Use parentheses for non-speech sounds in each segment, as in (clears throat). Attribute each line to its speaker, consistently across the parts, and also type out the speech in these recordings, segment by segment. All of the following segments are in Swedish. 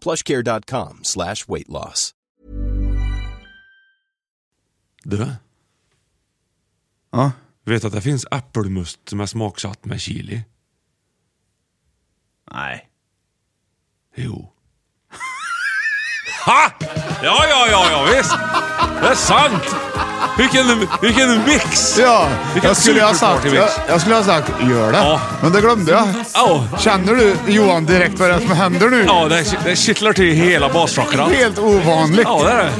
Speaker 1: Plushcare.com slash weight loss.
Speaker 2: Du då?
Speaker 3: Ja.
Speaker 2: Vet du att det finns äppelmust som är smaksatt med chili?
Speaker 3: Nej.
Speaker 2: Jo. Ha! Ja, ja, ja, ja visst! Det är sant! Vilken, vilken mix!
Speaker 3: Ja,
Speaker 2: Vilken
Speaker 3: jag skulle, ha sagt,
Speaker 2: superparty
Speaker 3: jag,
Speaker 2: mix.
Speaker 3: jag skulle ha sagt gör det.
Speaker 2: Ja.
Speaker 3: Men det glömde jag.
Speaker 2: Ja,
Speaker 3: Känner du Johan direkt vad det är som händer nu?
Speaker 2: ja det, det kittlar till hela basfrackorna.
Speaker 3: Helt ovanligt.
Speaker 2: Ja, det är det.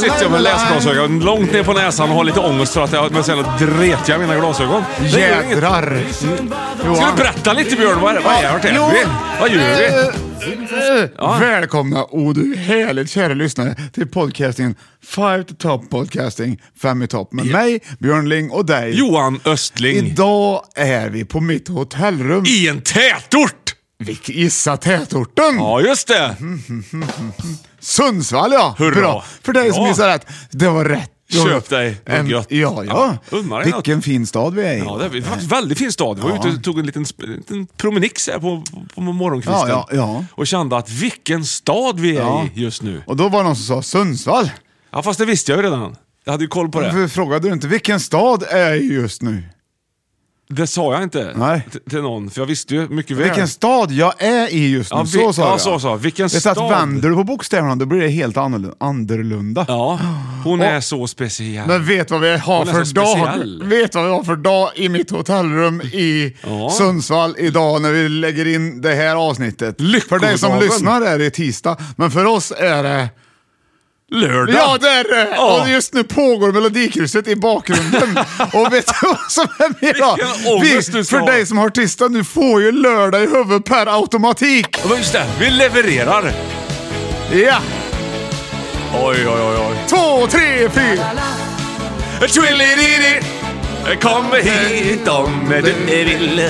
Speaker 2: Sitter jag med läsglasögon långt ner på näsan och har lite ångest för att jag... Men sen dret jag mina glasögon. Det gör inget.
Speaker 3: Jädrar.
Speaker 2: Ska du berätta lite Björn? Vad är det? Vad är det?
Speaker 3: Jo.
Speaker 2: Vad gör vi?
Speaker 3: Eh, eh, Välkomna, oh du härligt kära lyssnare, till podcastingen Five to Top Podcasting, Fem i topp med mig, Björn Ling och dig.
Speaker 2: Johan Östling.
Speaker 3: Idag är vi på mitt hotellrum.
Speaker 2: I en tätort!
Speaker 3: Vilk- Gissa tätorten!
Speaker 2: Ja, just det.
Speaker 3: Mm. Sundsvall ja!
Speaker 2: Hurra.
Speaker 3: Bra. För dig som
Speaker 2: Ja.
Speaker 3: gissar rätt, det var rätt. Det var
Speaker 2: Köp
Speaker 3: rätt.
Speaker 2: dig något
Speaker 3: en,
Speaker 2: gött.
Speaker 3: Ja, ja.
Speaker 2: Ja, unna dig
Speaker 3: Vilken fin stad vi är i.
Speaker 2: Ja, det är en väldigt fin stad. Vi var ute och tog en liten, sp- en liten promenix här på, på morgonkvisten.
Speaker 3: Ja, ja, ja.
Speaker 2: Och kände att vilken stad vi är
Speaker 3: Ja.
Speaker 2: i just nu.
Speaker 3: Och då var det någon som sa Sundsvall.
Speaker 2: Ja, fast det visste jag ju redan. Jag hade ju koll på det.
Speaker 3: Varför frågade du inte vilken stad är jag i just nu?
Speaker 2: Det sa jag inte
Speaker 3: Nej.
Speaker 2: t- till någon, för jag visste ju mycket väl.
Speaker 3: Vilken stad jag är i just nu.
Speaker 2: Ja, vi-
Speaker 3: så sa
Speaker 2: ja,
Speaker 3: jag.
Speaker 2: så sa jag. Vilken
Speaker 3: det är så
Speaker 2: stad.
Speaker 3: Att vänder du på bokstäverna då blir det helt annorlunda. annorlunda.
Speaker 2: Ja, hon är
Speaker 3: Och-
Speaker 2: så speciell.
Speaker 3: Men vet vad vi har
Speaker 2: Hon är
Speaker 3: för
Speaker 2: så
Speaker 3: dag?
Speaker 2: speciell.
Speaker 3: Vet vad vi har för dag i mitt hotellrum i
Speaker 2: (laughs) Ja.
Speaker 3: Sundsvall idag när vi lägger in det här avsnittet?
Speaker 2: Lyckodagen.
Speaker 3: För dig som lyssnar är det tisdag, men för oss är det...
Speaker 2: Lördag!
Speaker 3: Ja, det är det!
Speaker 2: Ja.
Speaker 3: Och just nu pågår Melodikrysset i
Speaker 2: (laughs)
Speaker 3: bakgrunden. Och vet du vad som är mer då?
Speaker 2: Vilken ångest du ska
Speaker 3: För
Speaker 2: ha.
Speaker 3: dig som har tisdag, du får ju lördag i huvudet per automatik.
Speaker 2: Ja, Just det, vi levererar!
Speaker 3: Ja!
Speaker 2: Oj, oj, oj, oj.
Speaker 3: Två, tre, fyra!
Speaker 2: Twillididi! Kom hit om du vill.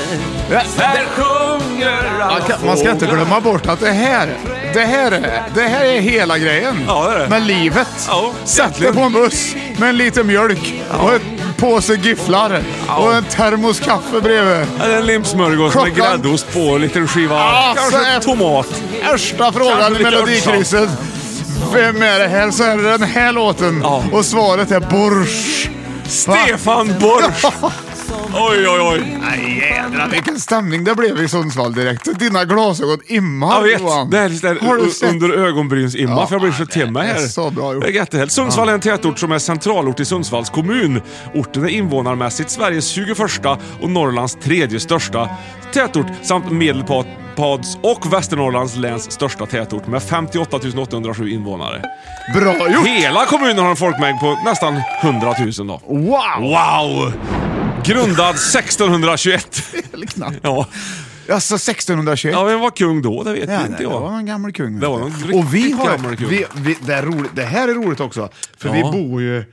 Speaker 3: Ja.
Speaker 2: Här sjunger alla
Speaker 3: Man ska, man ska inte
Speaker 2: fåglar.
Speaker 3: glömma bort att det här, det här, är- det här är hela grejen.
Speaker 2: Ja, det är det.
Speaker 3: Med livet.
Speaker 2: Ja,
Speaker 3: Sätt dig
Speaker 2: egentligen.
Speaker 3: på en buss med en liten mjölk och en påse gifflar och en termos kaffe bredvid.
Speaker 2: Eller en limpsmörgås med
Speaker 3: Klockan-
Speaker 2: gräddost på, en liten skiva
Speaker 3: Ja, så
Speaker 2: kanske
Speaker 3: är-
Speaker 2: tomat.
Speaker 3: Första frågan i
Speaker 2: Kanske lite
Speaker 3: Melodikrysset. Vem är det här? Så är det den här låten.
Speaker 2: Ja.
Speaker 3: Och svaret är Borsch.
Speaker 2: Stefan Borsch! Oj, oj, oj.
Speaker 3: Jädrar vilken stämning det blev i Sundsvall direkt. Dina glasögon
Speaker 2: Jag
Speaker 3: immar
Speaker 2: vet. Det här är
Speaker 3: Har du
Speaker 2: där
Speaker 3: sett?
Speaker 2: under ögonbrynsimma
Speaker 3: Ja,
Speaker 2: för jag blir så
Speaker 3: det
Speaker 2: till mig
Speaker 3: är
Speaker 2: här.
Speaker 3: så bra gjort.
Speaker 2: Det är jättehärligt. Sundsvall är en tätort som är centralort i Sundsvalls kommun. Orten är invånarmässigt Sveriges 21 och Norrlands tredje största tätort samt Medelpads och Västernorrlands läns största tätort med 58 807 invånare.
Speaker 3: Bra gjort!
Speaker 2: Hela kommunen har en folkmängd på nästan 100 000 då.
Speaker 3: Wow!
Speaker 2: Wow! Grundad 1621.
Speaker 3: Knappt.
Speaker 2: Ja,
Speaker 3: Alltså 1621.
Speaker 2: ja vem var kung då? Det vet
Speaker 3: Ja,
Speaker 2: inte
Speaker 3: det
Speaker 2: jag.
Speaker 3: var någon gammal kung.
Speaker 2: Det var
Speaker 3: vet
Speaker 2: någon
Speaker 3: du.
Speaker 2: riktigt
Speaker 3: Och vi har,
Speaker 2: gammal kung.
Speaker 3: Vi, vi, det, är roligt, det här är roligt också, för
Speaker 2: Ja.
Speaker 3: vi bor ju...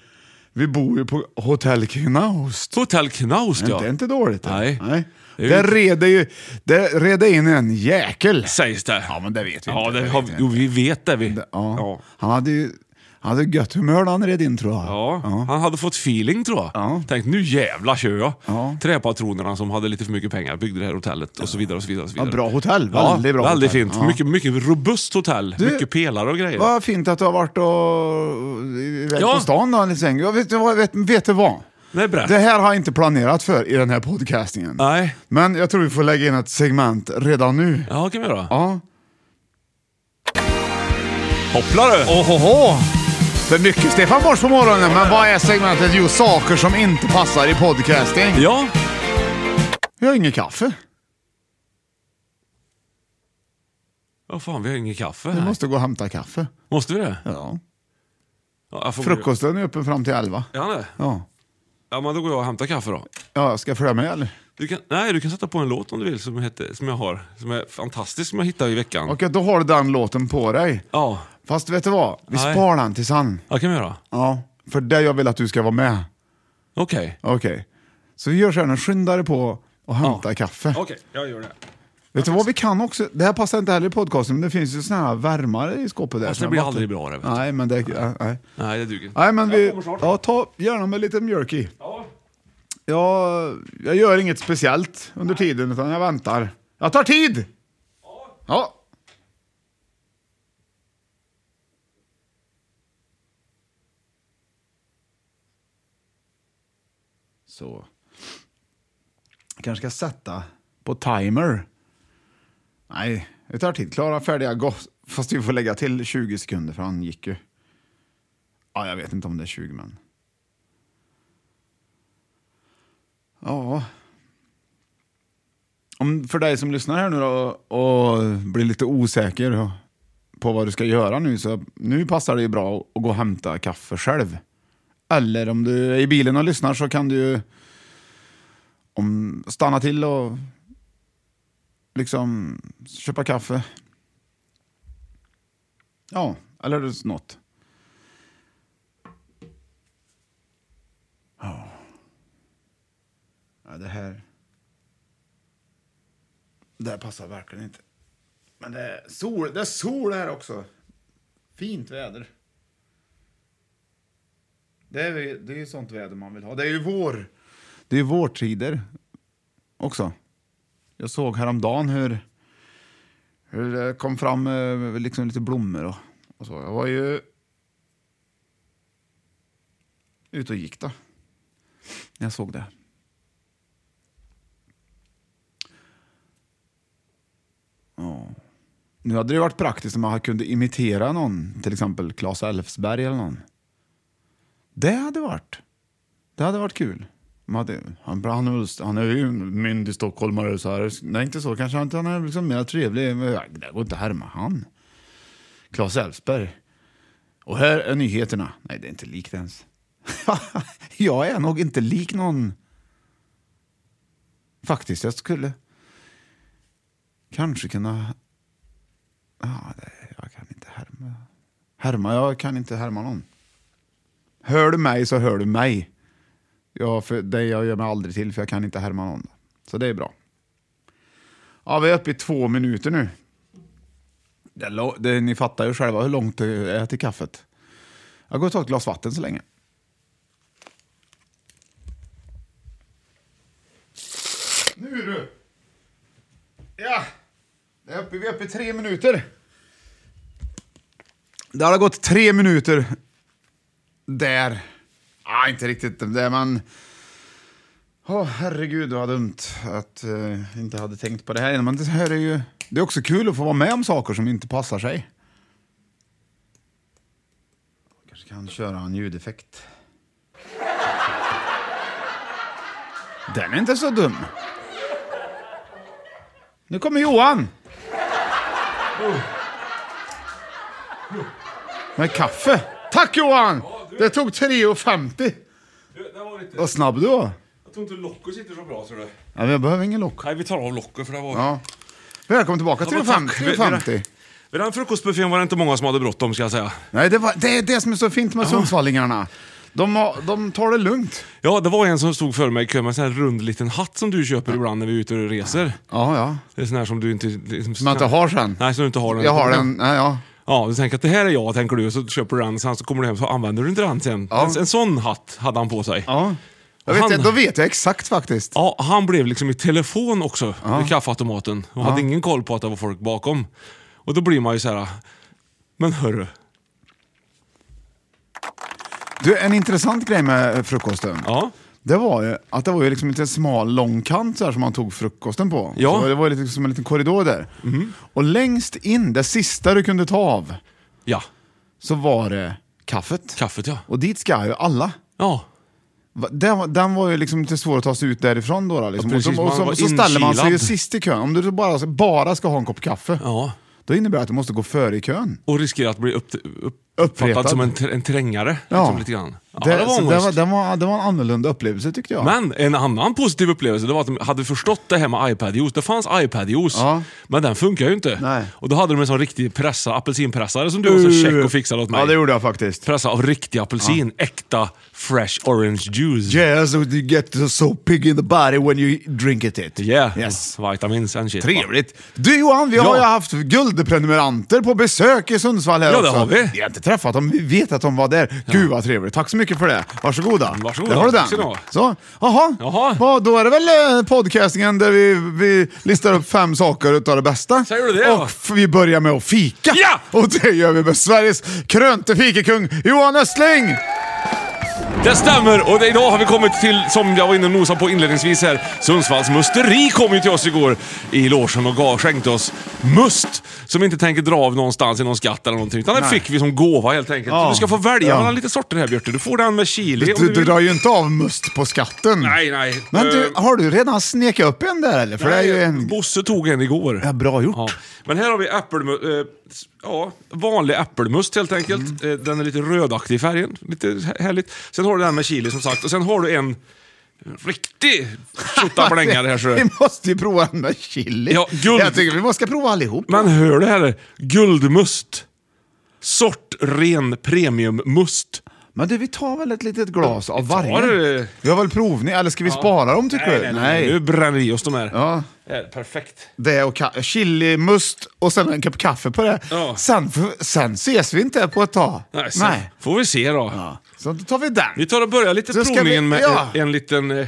Speaker 3: Vi bor ju på Hotell Knaust.
Speaker 2: Hotell Knaust ja.
Speaker 3: Det är inte dåligt.
Speaker 2: Nej. Det är ju
Speaker 3: Det
Speaker 2: inte-
Speaker 3: reder ju det reder in en jäkel.
Speaker 2: Sägs det.
Speaker 3: Ja, men det vet vi
Speaker 2: Ja,
Speaker 3: inte.
Speaker 2: det
Speaker 3: Det
Speaker 2: har,
Speaker 3: vet vi
Speaker 2: jo, vi vet det vi.
Speaker 3: Ja.
Speaker 2: Ja.
Speaker 3: Han hade ju han hade gött humör när han red in tror jag.
Speaker 2: Ja, han hade fått feeling tror jag.
Speaker 3: Ja.
Speaker 2: Tänk nu jävla kör jag.
Speaker 3: Ja.
Speaker 2: Träpatronerna som hade lite för mycket pengar byggde det här hotellet och så vidare. Och så vidare, och så
Speaker 3: Ja,
Speaker 2: vidare.
Speaker 3: bra hotell. Väldigt bra hotell.
Speaker 2: Väldigt fint.
Speaker 3: Ja.
Speaker 2: Mycket, mycket robust hotell. mycket pelare och grejer.
Speaker 3: Vad fint att du har varit och iväg
Speaker 2: Ja.
Speaker 3: på stan då, en liten sväng. Jag vet, du vad- vet, vet du vad?
Speaker 2: Nej, berätta.
Speaker 3: Det här har jag inte planerat för i den här podcastingen.
Speaker 2: Nej.
Speaker 3: Men jag tror vi får lägga in ett segment redan nu.
Speaker 2: Ja, kan vi göra.
Speaker 3: Ja.
Speaker 2: Hoppla du!
Speaker 3: Ohoho! Det är mycket Stefan Fors på morgonen, men vad är segmentet? Jo, saker som inte passar i podcasting.
Speaker 2: Ja,
Speaker 3: Jag har inget kaffe.
Speaker 2: Åh fan vi har inget kaffe.
Speaker 3: Jag
Speaker 2: här.
Speaker 3: måste gå och hämta kaffe.
Speaker 2: Måste vi det?
Speaker 3: Ja.
Speaker 2: Ja, jag får-
Speaker 3: Frukosten är öppen fram till elva.
Speaker 2: Ja, nej.
Speaker 3: Ja.
Speaker 2: ja, men då går jag och hämtar kaffe då.
Speaker 3: Ja, jag ska följa med eller?
Speaker 2: Du kan, nej, du kan sätta på en låt om du vill som, heter, som jag har. Som är fantastisk, som jag hittade i veckan.
Speaker 3: Okej, då har du den låten på dig.
Speaker 2: Ja,
Speaker 3: Fast vet du vad? Vi
Speaker 2: Nej.
Speaker 3: sparar den till sen.
Speaker 2: ja, kan vi göra.
Speaker 3: Ja, för det jag vill att du ska vara med.
Speaker 2: Okej.
Speaker 3: Okej. Så vi gör så här nu, skynda dig på och hämta kaffe.
Speaker 2: Okej, jag gör det.
Speaker 3: Vet du vad vi kan också? Det här passar inte heller i podcasten, men det finns ju såna här värmare i skåpet där.
Speaker 2: Fast Alltså, det
Speaker 3: Såna
Speaker 2: blir
Speaker 3: vatten-
Speaker 2: aldrig bra det, vet du.
Speaker 3: typ- Nej, men det... ja, Nej,
Speaker 2: Nej, det duger inte.
Speaker 3: nej men
Speaker 2: Jag
Speaker 3: vi...
Speaker 2: kommer snart.
Speaker 3: Ja, ta gärna med lite mjölk i.
Speaker 2: Ja.
Speaker 3: Jag, jag gör inget speciellt under tiden, utan jag väntar. Jag tar tid! Ja. Så. Jag kanske ska sätta på timer. Nej, det tar tid. Klara, färdiga, gå. Fast vi får lägga till 20 sekunder, för han gick ju. Ja, jag vet inte om det är 20, men... Ja. Om, för dig som lyssnar här nu då och blir lite osäker på vad du ska göra nu, så nu passar det ju bra att gå och hämta kaffe själv. Eller om du är i bilen och lyssnar så kan du ju om, stanna till och liksom köpa kaffe. Ja, eller något. Ja, det här... Det här passar verkligen inte. Men det är sol, det är sol här också. Fint väder. Det är ju det är ju sånt väder man vill ha. Det är ju vår. Det är ju vårtider också. Jag såg häromdagen hur, hur det kom fram eh, liksom lite blommor och, och så. Jag var ju ute och gick då. Jag såg det. Nu hade det varit praktiskt om man kunde imitera någon, till exempel Claes Elfsberg eller någon. Det hade varit. Det hade varit kul. Man hade, han, han, är- han är ju en myndig stockholmare, så här. Nej, inte så kanske. Han, han är liksom mer trevlig. Men Det går inte att härma han. Claes Elfsberg. Och här är nyheterna. Nej, det är inte likt ens. (laughs) jag är nog inte lik någon. Faktiskt, jag skulle kanske kunna Ja, det, jag kan inte härma. Härma, jag kan inte härma någon. Hör du mig så hör du mig. Ja, för det jag gör mig aldrig till för jag kan inte härma någon. Så det är bra. Ja, vi är uppe i två minuter nu. Det, är lo- det, ni fattar ju själva hur långt det är till kaffet. Jag går och tar ett glas vatten så länge. Nu du! Ja! Det är uppe, vi är uppe i tre minuter. Det har gått tre minuter där. Ah, inte riktigt där, men... Åh, herregud vad dumt att eh, inte hade tänkt på det här innan. Men det här är ju... Det är också kul att få vara med om saker som inte passar sig. Kanske kan köra en ljudeffekt. Den är inte så dum. Nu kommer Johan! Med kaffe. Tack Johan! Det tog 3,50.
Speaker 2: Det var lite...
Speaker 3: Vad snabb du var.
Speaker 2: Jag tror inte Locko sitter så bra tror du.
Speaker 3: Ja, men jag behöver ingen lock.
Speaker 2: Nej, vi tar av Locko för det var...
Speaker 3: Ja. Välkommen tillbaka.
Speaker 2: Ja,
Speaker 3: 3,50.
Speaker 2: men tack. Vid- vid-
Speaker 3: 3,50.
Speaker 2: Vid den frukostbuffén var det inte många som hade bråttom ska jag säga.
Speaker 3: Nej, det, var, det är det som är så fint med Sundsvallingarna. De, har, de tar det lugnt.
Speaker 2: Ja, det var en som stod för mig i kön med en sån här rund liten hatt som du köper ibland när vi är ute och reser.
Speaker 3: Ja, ja.
Speaker 2: Det är sån här som du inte... Liksom,
Speaker 3: Som jag inte har sen.
Speaker 2: Nej, som du inte har.
Speaker 3: Jag har den. Nej, ja.
Speaker 2: Ja, du tänker att det här är jag, tänker du. Och så köper du den, sen så kommer du hem så använder du inte den sen.
Speaker 3: Ja.
Speaker 2: En, en sån hatt hade han på sig.
Speaker 3: ja. Jag vet,
Speaker 2: Han-
Speaker 3: jag- Då vet jag exakt faktiskt.
Speaker 2: Ja, han blev liksom i telefon också vid kaffeautomaten och hade ingen koll på att det var folk bakom. Och då blir man ju så här. men hörru.
Speaker 3: Du, en intressant grej med frukosten.
Speaker 2: Ja.
Speaker 3: Det var ju att det var ju liksom inte en smal lång kant så här som man tog frukosten på.
Speaker 2: Ja. Mhm.
Speaker 3: Så det var ju lite som en liten korridor där. Och längst in, det sista du kunde ta av,
Speaker 2: Ja,
Speaker 3: så var det kaffet.
Speaker 2: kaffet ja.
Speaker 3: Och dit ska ju alla.
Speaker 2: Ja,
Speaker 3: Va- Den, var- den var ju liksom lite svår att ta sig ut därifrån då. då liksom.
Speaker 2: Ja, precis,
Speaker 3: och så, och
Speaker 2: man
Speaker 3: så,
Speaker 2: var
Speaker 3: och så ställer man sig ju
Speaker 2: inkilad.
Speaker 3: sist i kön. Om du bara, bara ska ha en kopp kaffe,
Speaker 2: ja.
Speaker 3: då innebär det att du måste gå före i kön.
Speaker 2: Och riskerar att bli upp, upp,
Speaker 3: Uppretad.
Speaker 2: uppfattad som en, tr- en trängare.
Speaker 3: Ja.
Speaker 2: Liksom, lite grann. Ja,
Speaker 3: det,
Speaker 2: det, var
Speaker 3: så det, var,
Speaker 2: ångest.
Speaker 3: det, var, det var en annorlunda upplevelse tyckte jag.
Speaker 2: Men en annan positiv upplevelse det var att de hade förstått det här med iPad-juice. Det fanns iPad-juice,
Speaker 3: Ja.
Speaker 2: men den funkar ju inte.
Speaker 3: Nej. Uh.
Speaker 2: Och då hade de en sån riktig pressa, apelsinpressare som du var så check och fixade åt mig.
Speaker 3: Ja, det gjorde jag faktiskt.
Speaker 2: Pressa av riktig apelsin, äkta fresh orange juice.
Speaker 3: Yes, you get so pig in the body when you drink it.
Speaker 2: Yeah.
Speaker 3: Yes.
Speaker 2: Vitamins and shit.
Speaker 3: Trevligt. Du Johan, vi har
Speaker 2: Ja.
Speaker 3: ju haft guldprenumeranter på besök i Sundsvall här
Speaker 2: Ja, det
Speaker 3: också.
Speaker 2: har vi.
Speaker 3: Vi har inte träffat dem, vi vet att de var där. Gud vad trevligt. Tack så mycket för det. Varsågoda.
Speaker 2: Varsågoda.
Speaker 3: Där har du den.
Speaker 2: Tack ska du ha.
Speaker 3: Så. Jaha.
Speaker 2: Jaha.
Speaker 3: Ja, då är det väl eh, podcastingen där vi, vi listar upp fem saker utav det bästa.
Speaker 2: Säger du det,
Speaker 3: Och
Speaker 2: ja?
Speaker 3: f- vi börjar med att fika.
Speaker 2: Ja!
Speaker 3: Och det gör vi med Sveriges krönte fikekung Johan Östling.
Speaker 2: Det stämmer! Och det, idag har vi kommit till, som jag var inne och nosade på inledningsvis här, Sundsvalls musteri kom ju till oss igår i logen och gav, skänkte oss must som vi inte tänker dra av någonstans i någon skatt eller någonting. Utan den fick vi som gåva helt enkelt.
Speaker 3: Ja.
Speaker 2: Så du ska få välja
Speaker 3: Ja.
Speaker 2: mellan lite sorter här Björte. Du får den med chili om
Speaker 3: Du,
Speaker 2: du
Speaker 3: du
Speaker 2: vill.
Speaker 3: drar ju inte av must på skatten.
Speaker 2: Nej, nej.
Speaker 3: Men du,
Speaker 2: Eh,
Speaker 3: har du redan snekat upp en där eller? För det är ju en...
Speaker 2: Bosse tog en igår.
Speaker 3: Ja, bra gjort.
Speaker 2: Ja. Men här har vi äppelmust, eh, s- ja, vanlig äppelmust helt enkelt.
Speaker 3: Mm.
Speaker 2: Eh, den är lite rödaktig i färgen, lite hä- härligt. Sen har du den med chili som sagt och sen har du en riktig
Speaker 3: (laughs)
Speaker 2: tjottaplängare här. Så.
Speaker 3: Vi måste ju prova den där chili.
Speaker 2: Ja, guld.
Speaker 3: Jag tycker vi måste prova allihop.
Speaker 2: Men hör du här? Guldmust. Sortren premiummust.
Speaker 3: Men du, vi tar väl ett litet glas av varje?
Speaker 2: det.
Speaker 3: Vi har väl provning, eller ska vi spara dem tycker du?
Speaker 2: Nu bränner vi oss de här.
Speaker 3: Ja,
Speaker 2: Eh, Perfekt.
Speaker 3: det och ka- chili, must och sen en kopp kaffe på det.
Speaker 2: Ja.
Speaker 3: Sen, f- sen ses vi inte på ett tag.
Speaker 2: Nej, sen Får vi se då.
Speaker 3: Ja. Så då tar vi den.
Speaker 2: Vi tar och börjar lite
Speaker 3: Så ska
Speaker 2: provningen
Speaker 3: vi-
Speaker 2: med
Speaker 3: ja.
Speaker 2: en, en liten... eh,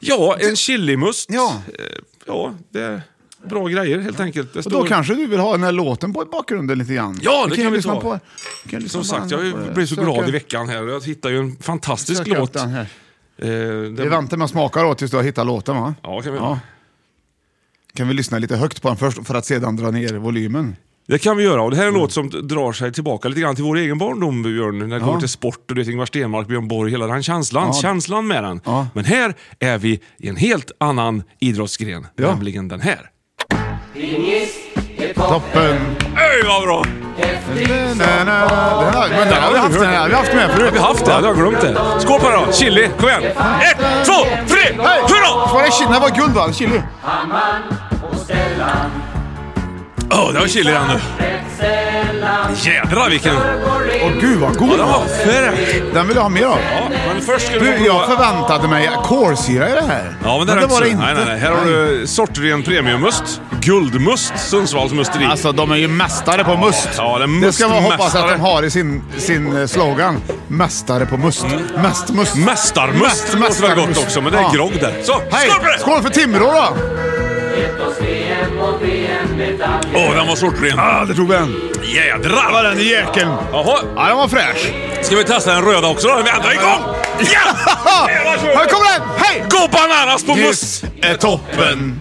Speaker 2: Ja, en chilimust.
Speaker 3: Ja.
Speaker 2: Eh, Ja, det är bra grejer helt enkelt. Det
Speaker 3: och då
Speaker 2: står-
Speaker 3: kanske du vill ha den här låten på i bakgrunden lite grann.
Speaker 2: Ja, det
Speaker 3: Du
Speaker 2: kan
Speaker 3: ju
Speaker 2: vi
Speaker 3: lyssna
Speaker 2: ta.
Speaker 3: på- du kan lyssna
Speaker 2: Som
Speaker 3: på
Speaker 2: sagt,
Speaker 3: den.
Speaker 2: jag blev så
Speaker 3: Söka-
Speaker 2: glad i veckan här. Jag hittade ju en fantastisk
Speaker 3: söka upp
Speaker 2: låt.
Speaker 3: den här.
Speaker 2: Eh, den-
Speaker 3: Vi väntar med att smaka då tills du har hittat låten va?
Speaker 2: Ja, kan vi
Speaker 3: Ja. Kan vi lyssna lite högt på den först för att sedan dra ner volymen?
Speaker 2: Det kan vi göra. Och det här
Speaker 3: Mm.
Speaker 2: är en låt som drar sig tillbaka lite grann till vår egen barndom, Björn. När det kommer till sport och det är Ingvar Stenmark, Björn Borg, hela den känslan. Känslan med den.
Speaker 3: Ja.
Speaker 2: Men här är vi i en helt annan idrottsgren,
Speaker 3: Ja.
Speaker 2: nämligen den här.
Speaker 3: Toppen!
Speaker 2: Öj, vad bra!
Speaker 3: Na, na, na. Den här- men den har vi haft den här, vi har haft med förut.
Speaker 2: Vi har haft det, jag har glömt det. Skål på det då! Chili, kom igen! Ett, två, tre,
Speaker 3: Hej!
Speaker 2: hurra!
Speaker 3: Var det chili? Det var guld va? Chili?
Speaker 2: Åh, det var chili igen nu. Jädrar vilken...
Speaker 3: Åh gud vad god
Speaker 2: Ja,
Speaker 3: den
Speaker 2: den var
Speaker 3: var.
Speaker 2: fräck!
Speaker 3: Den vill jag ha mer av.
Speaker 2: Ja, men först ska vi
Speaker 3: Du,
Speaker 2: få
Speaker 3: jag
Speaker 2: prova...
Speaker 3: förväntade mig kolsyra i det här.
Speaker 2: Ja, men det, är
Speaker 3: var det
Speaker 2: så.
Speaker 3: inte.
Speaker 2: Nej, nej, nej. Här har du sortren premiummust, guldmust, Sundsvalls musteri.
Speaker 3: Alltså de är ju mästare på must.
Speaker 2: Ja, det är
Speaker 3: det ska man hoppas
Speaker 2: mustmästare.
Speaker 3: att de har i sin, sin eh, slogan. Mästare på must. Mest must.
Speaker 2: Mm. Mästarmust låter väl gott
Speaker 3: mästarmust.
Speaker 2: också, men det är
Speaker 3: Ja.
Speaker 2: grogg där. Så,
Speaker 3: Hej!
Speaker 2: skål på det!
Speaker 3: Skål för Timrå då!
Speaker 2: Åh, den var sortren.
Speaker 3: Ja, Ah, det tog vi en.
Speaker 2: Jädrar!
Speaker 3: Var den i jäkeln.
Speaker 2: Jaha,
Speaker 3: Ja, den var fräsch.
Speaker 2: ska vi testa den röda också då? Vi ändrar igång! Ja!
Speaker 3: (laughs)
Speaker 2: (laughs)
Speaker 3: Här kommer den! Hej!
Speaker 2: Gå bananas på must!
Speaker 3: är toppen.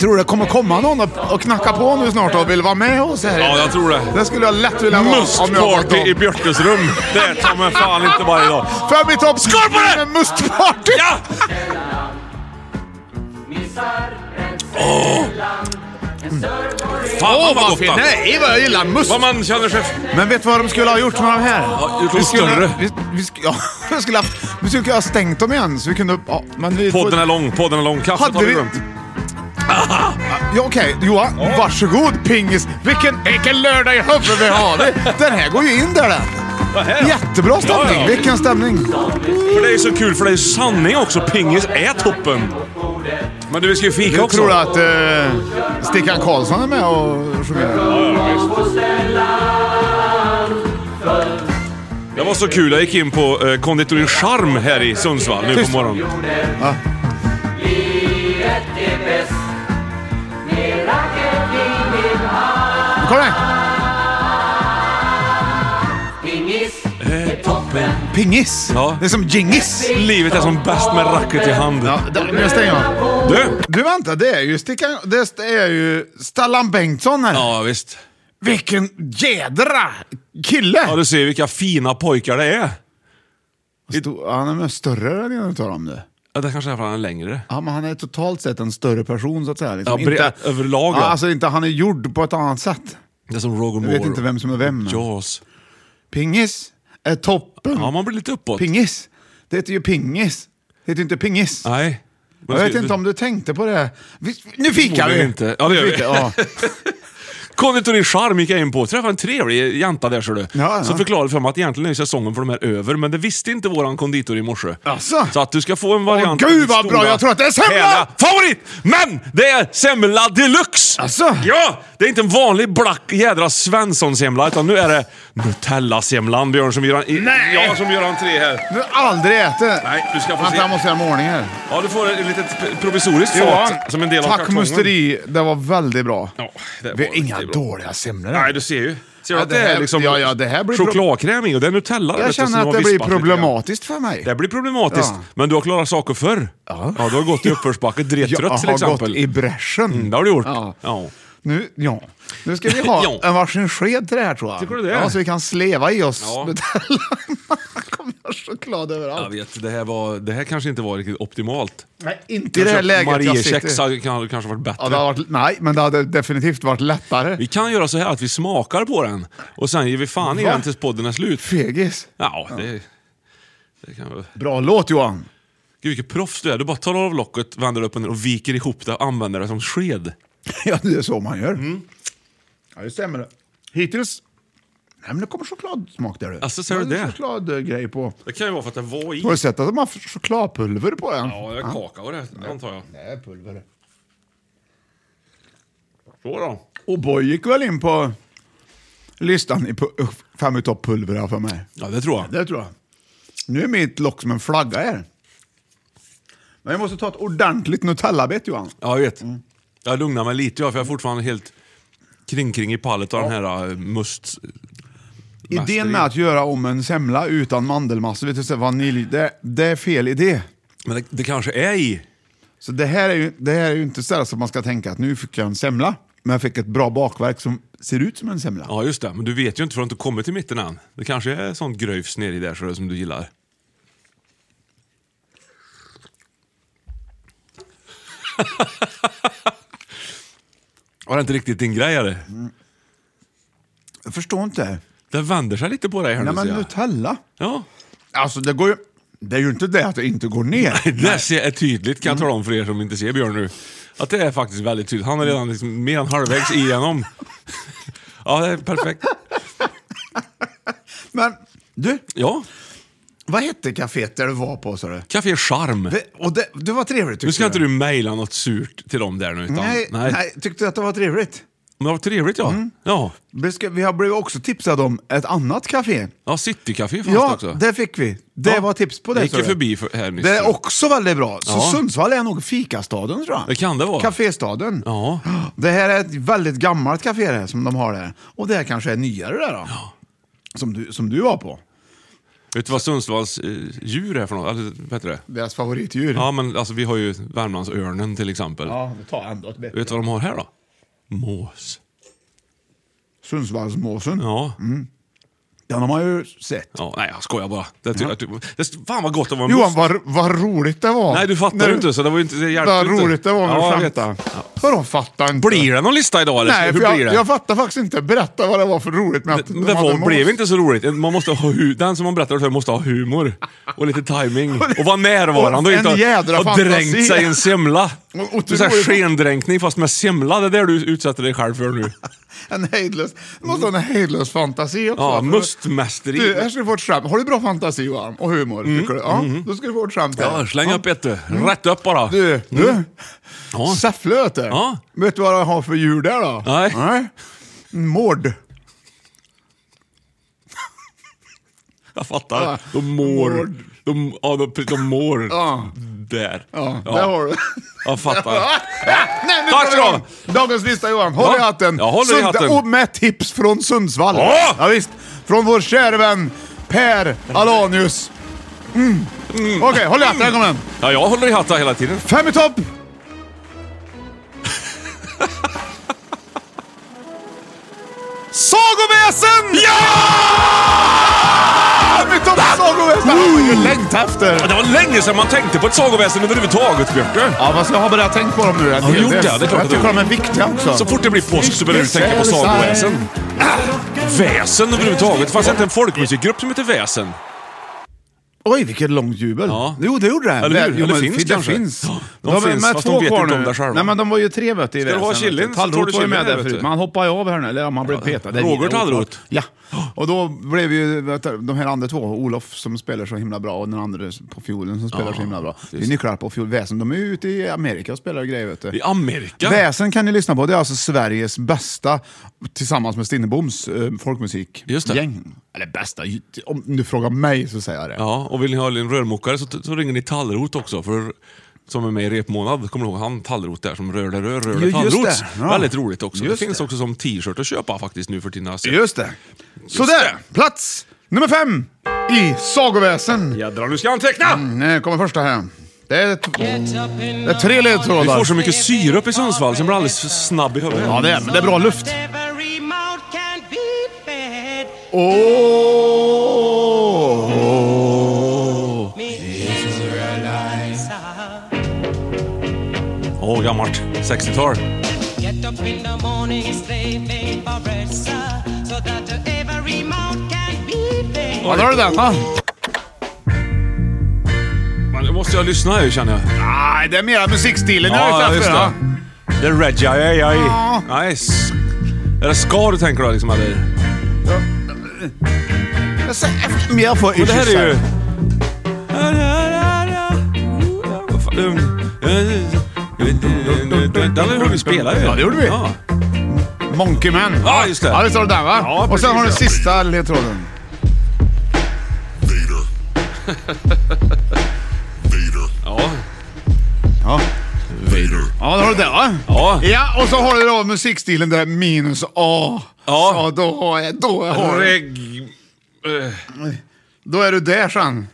Speaker 3: Tror du det kommer komma någon och- och knacka på nu snart och vill vara med oss här?
Speaker 2: Ja, jag tror det.
Speaker 3: Det skulle jag lätt vilja vara om jag var
Speaker 2: Mustparty
Speaker 3: dem.
Speaker 2: i Björtes rum. Det är ta mig fan inte varje dag.
Speaker 3: För mitt hopp.
Speaker 2: Skål på det!
Speaker 3: Mustparty!
Speaker 2: Ja! Åh! Fan vad gott! va?
Speaker 3: Nej, vad jag gillar must!
Speaker 2: Vad man känner sig...
Speaker 3: Men vet du vad de skulle ha gjort med de här?
Speaker 2: Ja, gjort dem större.
Speaker 3: Vi, vi, sk- ja, (laughs) vi skulle ha vi skulle ha stängt dem igen så vi kunde... Ja, men vi
Speaker 2: Podden är lång, podden är lång. Kaffet
Speaker 3: Hade
Speaker 2: har vi
Speaker 3: vi...
Speaker 2: glömt.
Speaker 3: Ah, Ja, Okej, Johan.
Speaker 2: (laughs)
Speaker 3: Varsågod pingis. Vilken, vilken lördag i huvudet vi har. Den här går ju in där den. Jättebra stämning!
Speaker 2: Ja, ja.
Speaker 3: Vilken stämning!
Speaker 2: För det är så kul, för det är ju sanning också. Pingis är toppen. Men du, vi ska ju fika
Speaker 3: Jag
Speaker 2: också.
Speaker 3: tror att eh, Stickan Karlsson är med och sjunger.
Speaker 2: Det var så kul, jag gick in på eh, konditori Charm här i Sundsvall nu på morgonen.
Speaker 3: Kom igen! Pingis!
Speaker 2: Ja.
Speaker 3: Det är som Gingis!
Speaker 2: Livet är som bäst med racket i hand.
Speaker 3: Ja, där, nu stänger jag.
Speaker 2: Du!
Speaker 3: Du vänta, det är ju Stickan... Det är ju Stellan Bengtsson här.
Speaker 2: Ja, visst.
Speaker 3: Vilken jädra kille!
Speaker 2: Ja, du ser vilka fina pojkar det är.
Speaker 3: Stor- Han är med större än en utav dem du.
Speaker 2: Ja, det kanske är för att han är längre.
Speaker 3: Ja, men han är totalt sett en större person så att säga. Liksom.
Speaker 2: Ja, bre- överlag,
Speaker 3: ja.
Speaker 2: ja.
Speaker 3: Alltså inte, han är gjord på ett annat sätt.
Speaker 2: Det är som Roger
Speaker 3: Jag
Speaker 2: Moore.
Speaker 3: vet inte vem som är vem. men-
Speaker 2: Jaws.
Speaker 3: Pingis är toppen.
Speaker 2: Ja, man blir lite uppåt.
Speaker 3: Pingis. Det heter ju pingis. Det heter ju inte pingis.
Speaker 2: Nej.
Speaker 3: jag
Speaker 2: Men ska-
Speaker 3: vet inte om du tänkte på det. Vi, nu fikar vi!
Speaker 2: Förmodligen inte. Ja, det gör
Speaker 3: Nu
Speaker 2: vi.
Speaker 3: fikar-
Speaker 2: (laughs)
Speaker 3: ja.
Speaker 2: Konditori Charm gick jag in på. Träffade en trevlig jänta där, ser du.
Speaker 3: ja.
Speaker 2: Som förklarade för mig att egentligen är säsongen för de här över, men det visste inte våran konditor i morse.
Speaker 3: Asså?
Speaker 2: Så att du ska få en variant.
Speaker 3: Åh,
Speaker 2: av
Speaker 3: gud,
Speaker 2: ditt
Speaker 3: vad bra!
Speaker 2: stora,
Speaker 3: Jag tror att det är semla!
Speaker 2: härliga Favorit! Men det är semla deluxe!
Speaker 3: Asså?
Speaker 2: Ja! Det är inte en vanlig black jädra Svensson-semla, utan nu är det Nutella-semlan, Björn, som gör, en, i,
Speaker 3: Nej!
Speaker 2: ja, som gör entré här.
Speaker 3: Du har aldrig ätit.
Speaker 2: Nej, du ska få
Speaker 3: Vänta,
Speaker 2: se.
Speaker 3: jag måste göra mig i ordning här.
Speaker 2: Ja, du får ett litet provisoriskt fat som en del av
Speaker 3: tack E.
Speaker 2: kartongen.
Speaker 3: musteri. Det var väldigt bra.
Speaker 2: Ja, det
Speaker 3: vi
Speaker 2: var
Speaker 3: har inga
Speaker 2: riktigt bra.
Speaker 3: dåliga semlor.
Speaker 2: Nej, du ser ju. Ser du
Speaker 3: Ja,
Speaker 2: att
Speaker 3: det
Speaker 2: det är
Speaker 3: här-
Speaker 2: liksom
Speaker 3: ja, ja, det här blir pro-
Speaker 2: chokladkräm i och det är Nutella. vet
Speaker 3: jag
Speaker 2: du, som
Speaker 3: känner
Speaker 2: har
Speaker 3: att det blir
Speaker 2: vispat lite grann.
Speaker 3: problematiskt för mig.
Speaker 2: Det blir problematiskt,
Speaker 3: Ja.
Speaker 2: men du har klarat saker förr. Ja. du har gått i uppförsbacke,
Speaker 3: jag
Speaker 2: dretrött till
Speaker 3: har
Speaker 2: exempel.
Speaker 3: gått i bräschen.
Speaker 2: Mm, det har du gjort.
Speaker 3: Ja.
Speaker 2: Ja.
Speaker 3: Nu, ja. nu ska vi ha
Speaker 2: (laughs) Ja.
Speaker 3: en varsin sked till det här tror jag.
Speaker 2: Tycker du det?
Speaker 3: Ja, så vi kan sleva i oss (laughs)
Speaker 2: Ja.
Speaker 3: Nutella. Man kommer choklad
Speaker 2: Jag
Speaker 3: överallt.
Speaker 2: vet, det här, var, det här kanske inte var riktigt optimalt.
Speaker 3: Nej, inte i det här läget jag
Speaker 2: Mariekex
Speaker 3: sitter.
Speaker 2: hade kan- kanske varit bättre.
Speaker 3: Ja, det har varit, nej, men det hade definitivt varit lättare.
Speaker 2: Vi kan göra så här att vi smakar på den och sen ger vi fan i
Speaker 3: Va?
Speaker 2: den tills podden är slut.
Speaker 3: Fegis.
Speaker 2: Ja, det, det kan väl...
Speaker 3: Bra låt Johan. (laughs)
Speaker 2: Gud vilket proffs du är. Du bara tar av locket, vänder upp och ner och viker ihop det och använder det som sked.
Speaker 3: Ja, det är så man gör.
Speaker 2: Mm.
Speaker 3: Ja, det stämmer. Hittills... Nej, men det kommer chokladsmak där du.
Speaker 2: Alltså, ser du
Speaker 3: är
Speaker 2: det?
Speaker 3: chokladgrej eh, på.
Speaker 2: Det kan ju vara för att det var i.
Speaker 3: Har du sett att de har chokladpulver på den?
Speaker 2: Ja, det är kakao det, antar jag.
Speaker 3: Det är pulver.
Speaker 2: Så då.
Speaker 3: Och Boy gick väl in på listan i pu- fem utav pulver för mig.
Speaker 2: Ja, det tror jag.
Speaker 3: Det tror jag. Nu är mitt lock som en flagga här. Men jag måste ta ett ordentligt Nutellabett Johan.
Speaker 2: Ja, jag vet. Jag lugnar mig lite jag, för jag är fortfarande helt kring-kring i pallet av den här äh, must...
Speaker 3: Idén med att göra om en semla utan mandelmassa, vet du, så här vanilj, det, det är fel idé.
Speaker 2: Men det, det kanske är i.
Speaker 3: Så det här är ju, det här är ju inte så här som man ska tänka att nu fick jag en semla, men jag fick ett bra bakverk som ser ut som en semla.
Speaker 2: Ja, just det. Men du vet ju inte för du har inte kommit till mitten än. Det kanske är sånt gröjfs nere i där så det är som du gillar. (laughs) Var det inte riktigt din grej eller?
Speaker 3: Jag förstår inte.
Speaker 2: Det vänder sig lite på dig här
Speaker 3: Nej
Speaker 2: nu
Speaker 3: men
Speaker 2: ser jag.
Speaker 3: Nutella,
Speaker 2: Ja,
Speaker 3: alltså det går ju, det är ju inte det att det inte går ner.
Speaker 2: det där ser är tydligt
Speaker 3: Mm.
Speaker 2: kan jag tala om för er som inte ser Björn nu. Att det är faktiskt väldigt tydligt. Han är redan liksom mer än
Speaker 3: (laughs)
Speaker 2: halvvägs igenom. Ja, det är perfekt.
Speaker 3: Men du,
Speaker 2: Ja,
Speaker 3: vad hette kaféet där du var på sa du?
Speaker 2: Café Charm.
Speaker 3: Det, och det, det var trevligt tyckte
Speaker 2: Nu ska inte du mejla något surt till dem där nu. Utan,
Speaker 3: Nej, nej. Mm. tyckte du att det var trevligt?
Speaker 2: Men vad trevligt ja. Ja,
Speaker 3: Vi, ska, vi har blivit också tipsade om ett annat café.
Speaker 2: ja Citycafé fanns det
Speaker 3: Ja,
Speaker 2: också.
Speaker 3: det fick vi. Det
Speaker 2: Ja.
Speaker 3: var tips på det.
Speaker 2: Jag gick
Speaker 3: sa
Speaker 2: ju
Speaker 3: du.
Speaker 2: förbi för, här nyss.
Speaker 3: Det är också väldigt bra. Så
Speaker 2: Ja.
Speaker 3: Sundsvall är nog fikastaden tror jag.
Speaker 2: Det kan det vara.
Speaker 3: Caféstaden.
Speaker 2: Ja.
Speaker 3: Det här är ett väldigt gammalt café det, som de har där. Och det här kanske är nyare där då. Som, du, som du var på.
Speaker 2: Vet du vad Sundsvalls eh, djur är för något? Eller vad heter det?
Speaker 3: Deras favoritdjur.
Speaker 2: Ja, men alltså vi har ju Värmlandsörnen till exempel.
Speaker 3: ja ta ändå ett bättre.
Speaker 2: Vet du vad de har här då? Mås.
Speaker 3: Sundsvallsmåsen.
Speaker 2: Ja.
Speaker 3: Den har man ju sett.
Speaker 2: ja. Nej, jag skojar bara. Det, ty- att du- det, fan vad gott det var en
Speaker 3: Johan,
Speaker 2: mås.
Speaker 3: vad, vad roligt det var.
Speaker 2: Nej, du fattar
Speaker 3: När
Speaker 2: ju inte så det var ju inte... Det hjälpte
Speaker 3: Vad
Speaker 2: inte.
Speaker 3: roligt det var när
Speaker 2: Ja, jag
Speaker 3: du
Speaker 2: vet.
Speaker 3: skämtade. Vadå fattar inte?
Speaker 2: Blir det någon lista idag eller?
Speaker 3: Nej,
Speaker 2: Hur
Speaker 3: för jag,
Speaker 2: blir det?
Speaker 3: jag fattar faktiskt inte. Berätta vad det var för roligt med att
Speaker 2: Men
Speaker 3: de
Speaker 2: det
Speaker 3: hade
Speaker 2: var,
Speaker 3: mås.
Speaker 2: blev inte så roligt. Man måste ha hu- den som man berättar för måste ha humor och
Speaker 3: (laughs)
Speaker 2: lite timing och vara närvarande och
Speaker 3: Och
Speaker 2: inte ha-
Speaker 3: en jädra
Speaker 2: ha
Speaker 3: fantasi.
Speaker 2: dränkt sig i en semla.
Speaker 3: (laughs) Och
Speaker 2: Du säger
Speaker 3: otroligt-
Speaker 2: skendränkning fast med semla, det
Speaker 3: (laughs)
Speaker 2: är det du utsätter dig själv för nu.
Speaker 3: En hejdlös... Du måste ha en hejdlös fantasi också.
Speaker 2: Ja,
Speaker 3: för-
Speaker 2: must Röstmästeri.
Speaker 3: Du, här ska du få ett skämt. Har du bra fantasi Johan? Och humor? tycker du? Ja, då ska du få ett skämt här.
Speaker 2: Mm. Ja, släng upp ett du. Rätt upp bara.
Speaker 3: Mm.
Speaker 2: Mm,
Speaker 3: Du, du.
Speaker 2: Ja.
Speaker 3: Säffle vet du.
Speaker 2: Ja.
Speaker 3: Vet du vad jag har för djur där då?
Speaker 2: Nej.
Speaker 3: Mård.
Speaker 2: Jag fattar. De mår. De, ja, de, de mår.
Speaker 3: Ja.
Speaker 2: Där.
Speaker 3: Ja, där har du.
Speaker 2: Jag fattar.
Speaker 3: Nej, nu drar vi
Speaker 2: Tack ska du ha.
Speaker 3: igång! Dagens lista Johan, håll
Speaker 2: Ja.
Speaker 3: i hatten.
Speaker 2: Jag håller i hatten.
Speaker 3: Och med tips från Sundsvall.
Speaker 2: Ja.
Speaker 3: Ja, visst. Från vår käre vän Per Alanius. Mm. Okej, håll i hatten, här kommer den.
Speaker 2: Ja, jag håller i hatten hela tiden.
Speaker 3: Fem i topp! Sagoväsen! Ja! Fem i topp sagoväsen! Han har ju längtat efter.
Speaker 2: Ja, Det var länge sedan man tänkte på ett sagoväsen överhuvudtaget, Björte.
Speaker 3: Ja, fast jag har börjat tänka på dem nu. en
Speaker 2: du
Speaker 3: hel
Speaker 2: gjort
Speaker 3: del.
Speaker 2: det? Det är klart
Speaker 3: jag
Speaker 2: att du
Speaker 3: tycker
Speaker 2: har.
Speaker 3: de är viktiga också.
Speaker 2: Så fort det blir påsk så börjar du tänka på sagoväsen. Äh, Väsen överhuvudtaget. Det fanns inte en folkmusikgrupp som hette Väsen.
Speaker 3: Oj, vilket långt jubel.
Speaker 2: Ja.
Speaker 3: Jo, det gjorde den.
Speaker 2: Eller hur?
Speaker 3: Jo,
Speaker 2: Eller
Speaker 3: men
Speaker 2: finns
Speaker 3: det
Speaker 2: kanske?
Speaker 3: finns.
Speaker 2: Ja, de finns,
Speaker 3: med
Speaker 2: fast
Speaker 3: två
Speaker 2: de vet
Speaker 3: kvar
Speaker 2: inte om
Speaker 3: nu.
Speaker 2: det själva.
Speaker 3: Nej, men de var ju tre vet du, i
Speaker 2: Ska du ha
Speaker 3: väsen, vet
Speaker 2: chilin så tar du
Speaker 3: Tallroth var ju
Speaker 2: chilin
Speaker 3: med
Speaker 2: här,
Speaker 3: där
Speaker 2: vet
Speaker 3: förut,
Speaker 2: du.
Speaker 3: men han hoppade ju av här nu. Eller ja, man blev petad. Det är
Speaker 2: Roger
Speaker 3: lite oklart.
Speaker 2: Tallroth.
Speaker 3: Ja. Och då blev ju vet du, de här andra två, Olof som spelar så himla bra och den andra på fiolen som spelar så himla bra. Det är nycklar på fiol. Väsen, de är ju ute i Amerika och spelar grejer vet du.
Speaker 2: I Amerika.
Speaker 3: Väsen kan ni lyssna på. Det är alltså Sveriges bästa, tillsammans med Stinneboms eh,
Speaker 2: Just det.
Speaker 3: folkmusikgäng. Eller bästa, ju- om du frågar mig så säger jag det.
Speaker 2: Ja, och vill ni ha en rörmokare så, så ringer ni Tallrot också. För, som är med i Repmånad. Kommer du ihåg han Tallrot där som rör det rör, rör
Speaker 3: Jo,
Speaker 2: det
Speaker 3: just
Speaker 2: Tallrot?
Speaker 3: det. Ja.
Speaker 2: Väldigt roligt också.
Speaker 3: Just
Speaker 2: det finns
Speaker 3: det.
Speaker 2: också som t-shirt att köpa faktiskt nu för tiden. har jag sett.
Speaker 3: Just det. Sådär, plats nummer fem i Sagoväsen.
Speaker 2: Jädrar, nu ska jag anteckna!
Speaker 3: Nu kommer första här. Det är, t- det är tre
Speaker 2: Vi
Speaker 3: ledtrådar.
Speaker 2: får så mycket syre upp i Sundsvall så jag blir alldeles för snabb i huvudet.
Speaker 3: Ja, det är, men det är bra luft. Åh!
Speaker 2: Åh, gammalt. 60-tal.
Speaker 4: Get up in the morning, slave favorite, sir, so that every mouth can be fed.
Speaker 3: Ja, där har du den va?
Speaker 2: Men nu måste jag lyssna här känner jag.
Speaker 3: Nej, det är mera musikstilen jag
Speaker 2: Ja,
Speaker 3: är ute
Speaker 2: just
Speaker 3: efter. va?
Speaker 2: det. Det är Reggie, ja, ja,
Speaker 3: Ja.
Speaker 2: ja. Nice. Är det ska du tänker då liksom eller?
Speaker 3: Jag ser mer för
Speaker 2: Och det här
Speaker 3: issues
Speaker 2: är ju...
Speaker 3: här.
Speaker 2: Vad fan, um, eh, Den har vi spelat ju.
Speaker 3: Ja, det gjorde vi.
Speaker 2: Ja,
Speaker 3: Monkey Man.
Speaker 2: Ja, just det.
Speaker 3: Ja, det står det där va?
Speaker 2: Ja,
Speaker 3: Och sen har du
Speaker 2: precis, ja.
Speaker 3: sista ledtråden.
Speaker 2: ja.
Speaker 3: Ja. Ja, då har du det va?
Speaker 2: Ja.
Speaker 3: Ja, och så har du då musikstilen där minus A.
Speaker 2: Ja.
Speaker 3: Så då har jag, då har jag,
Speaker 2: Reg... eh,
Speaker 3: då är du där sen.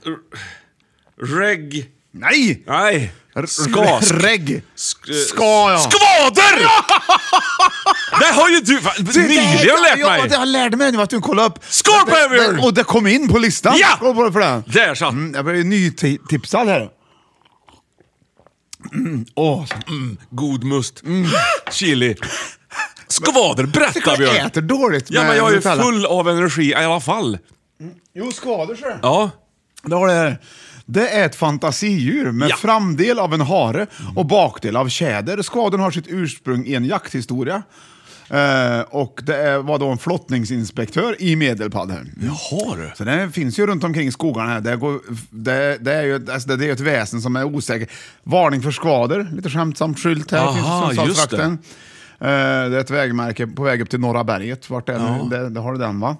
Speaker 2: Reg...
Speaker 3: Nej!
Speaker 2: Nej. Skask.
Speaker 3: Regg.
Speaker 2: eh,
Speaker 3: Ska ja.
Speaker 2: Skvader! (laughs) Det har ju du fan, nyligen lärt
Speaker 3: Ja,
Speaker 2: mig.
Speaker 3: det jag lärde mig nu att du kollade upp.
Speaker 2: Scorpion!
Speaker 3: Det- det- Och det kom in på listan.
Speaker 2: Ja!
Speaker 3: Skål på det för det.
Speaker 2: Där satt
Speaker 3: Mm, jag blev ju nytipsad här. Mm, åh.
Speaker 2: god must. (laughs) Chili. Mm. Skvader, berätta
Speaker 3: Jag
Speaker 2: Björn.
Speaker 3: äter dåligt
Speaker 2: Ja,
Speaker 3: med
Speaker 2: men jag är ju
Speaker 3: Nutella.
Speaker 2: full av energi i alla fall.
Speaker 3: Jo, skador så.
Speaker 2: Ja.
Speaker 3: Det har det här. Det är ett fantasidjur med
Speaker 2: Ja.
Speaker 3: framdel av en hare och bakdel av tjäder. Skadorna har sitt ursprung i en jakthistoria. Eh, och det är, var då en flottningsinspektör i Medelpad. Här.
Speaker 2: Jaha du.
Speaker 3: Så det finns ju runt omkring skogarna. Här. Det, går, det, det är ju ett- alltså det, det är ett väsen som är osäkert. Varning för skador, lite skämtsamt skylt här.
Speaker 2: Aha,
Speaker 3: finns i Sundsvallstrakten.
Speaker 2: just
Speaker 3: Eh, det är ett vägmärke på väg upp till Norra berget. Vart är det? nu? det? Det har du den va?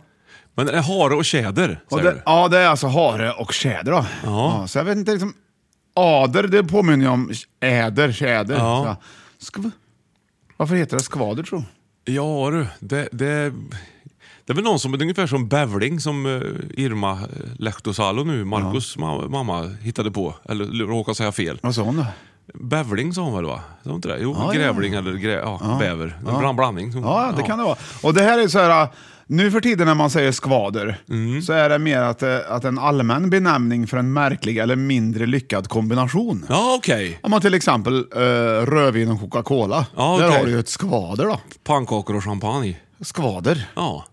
Speaker 2: Men är det hare och tjäder?
Speaker 3: Och
Speaker 2: säger
Speaker 3: det,
Speaker 2: du?
Speaker 3: ja, det är alltså hare och tjäder. Då. Ja, så jag vet inte, liksom, ader det påminner ju om äder, tjäder.
Speaker 2: Ja.
Speaker 3: Så, skv, varför heter det skvader tro?
Speaker 2: Ja du, det, det, det är väl någon som, det är ungefär som bävling som eh, Irma eh, Lehtosalo nu, Marcus ma- mamma, hittade på. Eller råkade säga fel.
Speaker 3: Vad sa hon då?
Speaker 2: Bävling sa hon väl va? Sa hon inte det? Jo,
Speaker 3: Ja, ja.
Speaker 2: grävling eller grä, ja, bäver. En bland- blandning.
Speaker 3: Ja, det kan det vara. Och det här är så här, nu för tiden när man säger skvader
Speaker 2: Mm.
Speaker 3: så är det mer att, eh, att en allmän benämning för en märklig eller mindre lyckad kombination.
Speaker 2: Ja, okej.
Speaker 3: Om man till exempel eh, rödvin och Coca-Cola.
Speaker 2: Ja,
Speaker 3: Där
Speaker 2: okej.
Speaker 3: har du ju ett skvader då.
Speaker 2: Pannkakor och champagne.
Speaker 3: Skvader.
Speaker 2: Ja.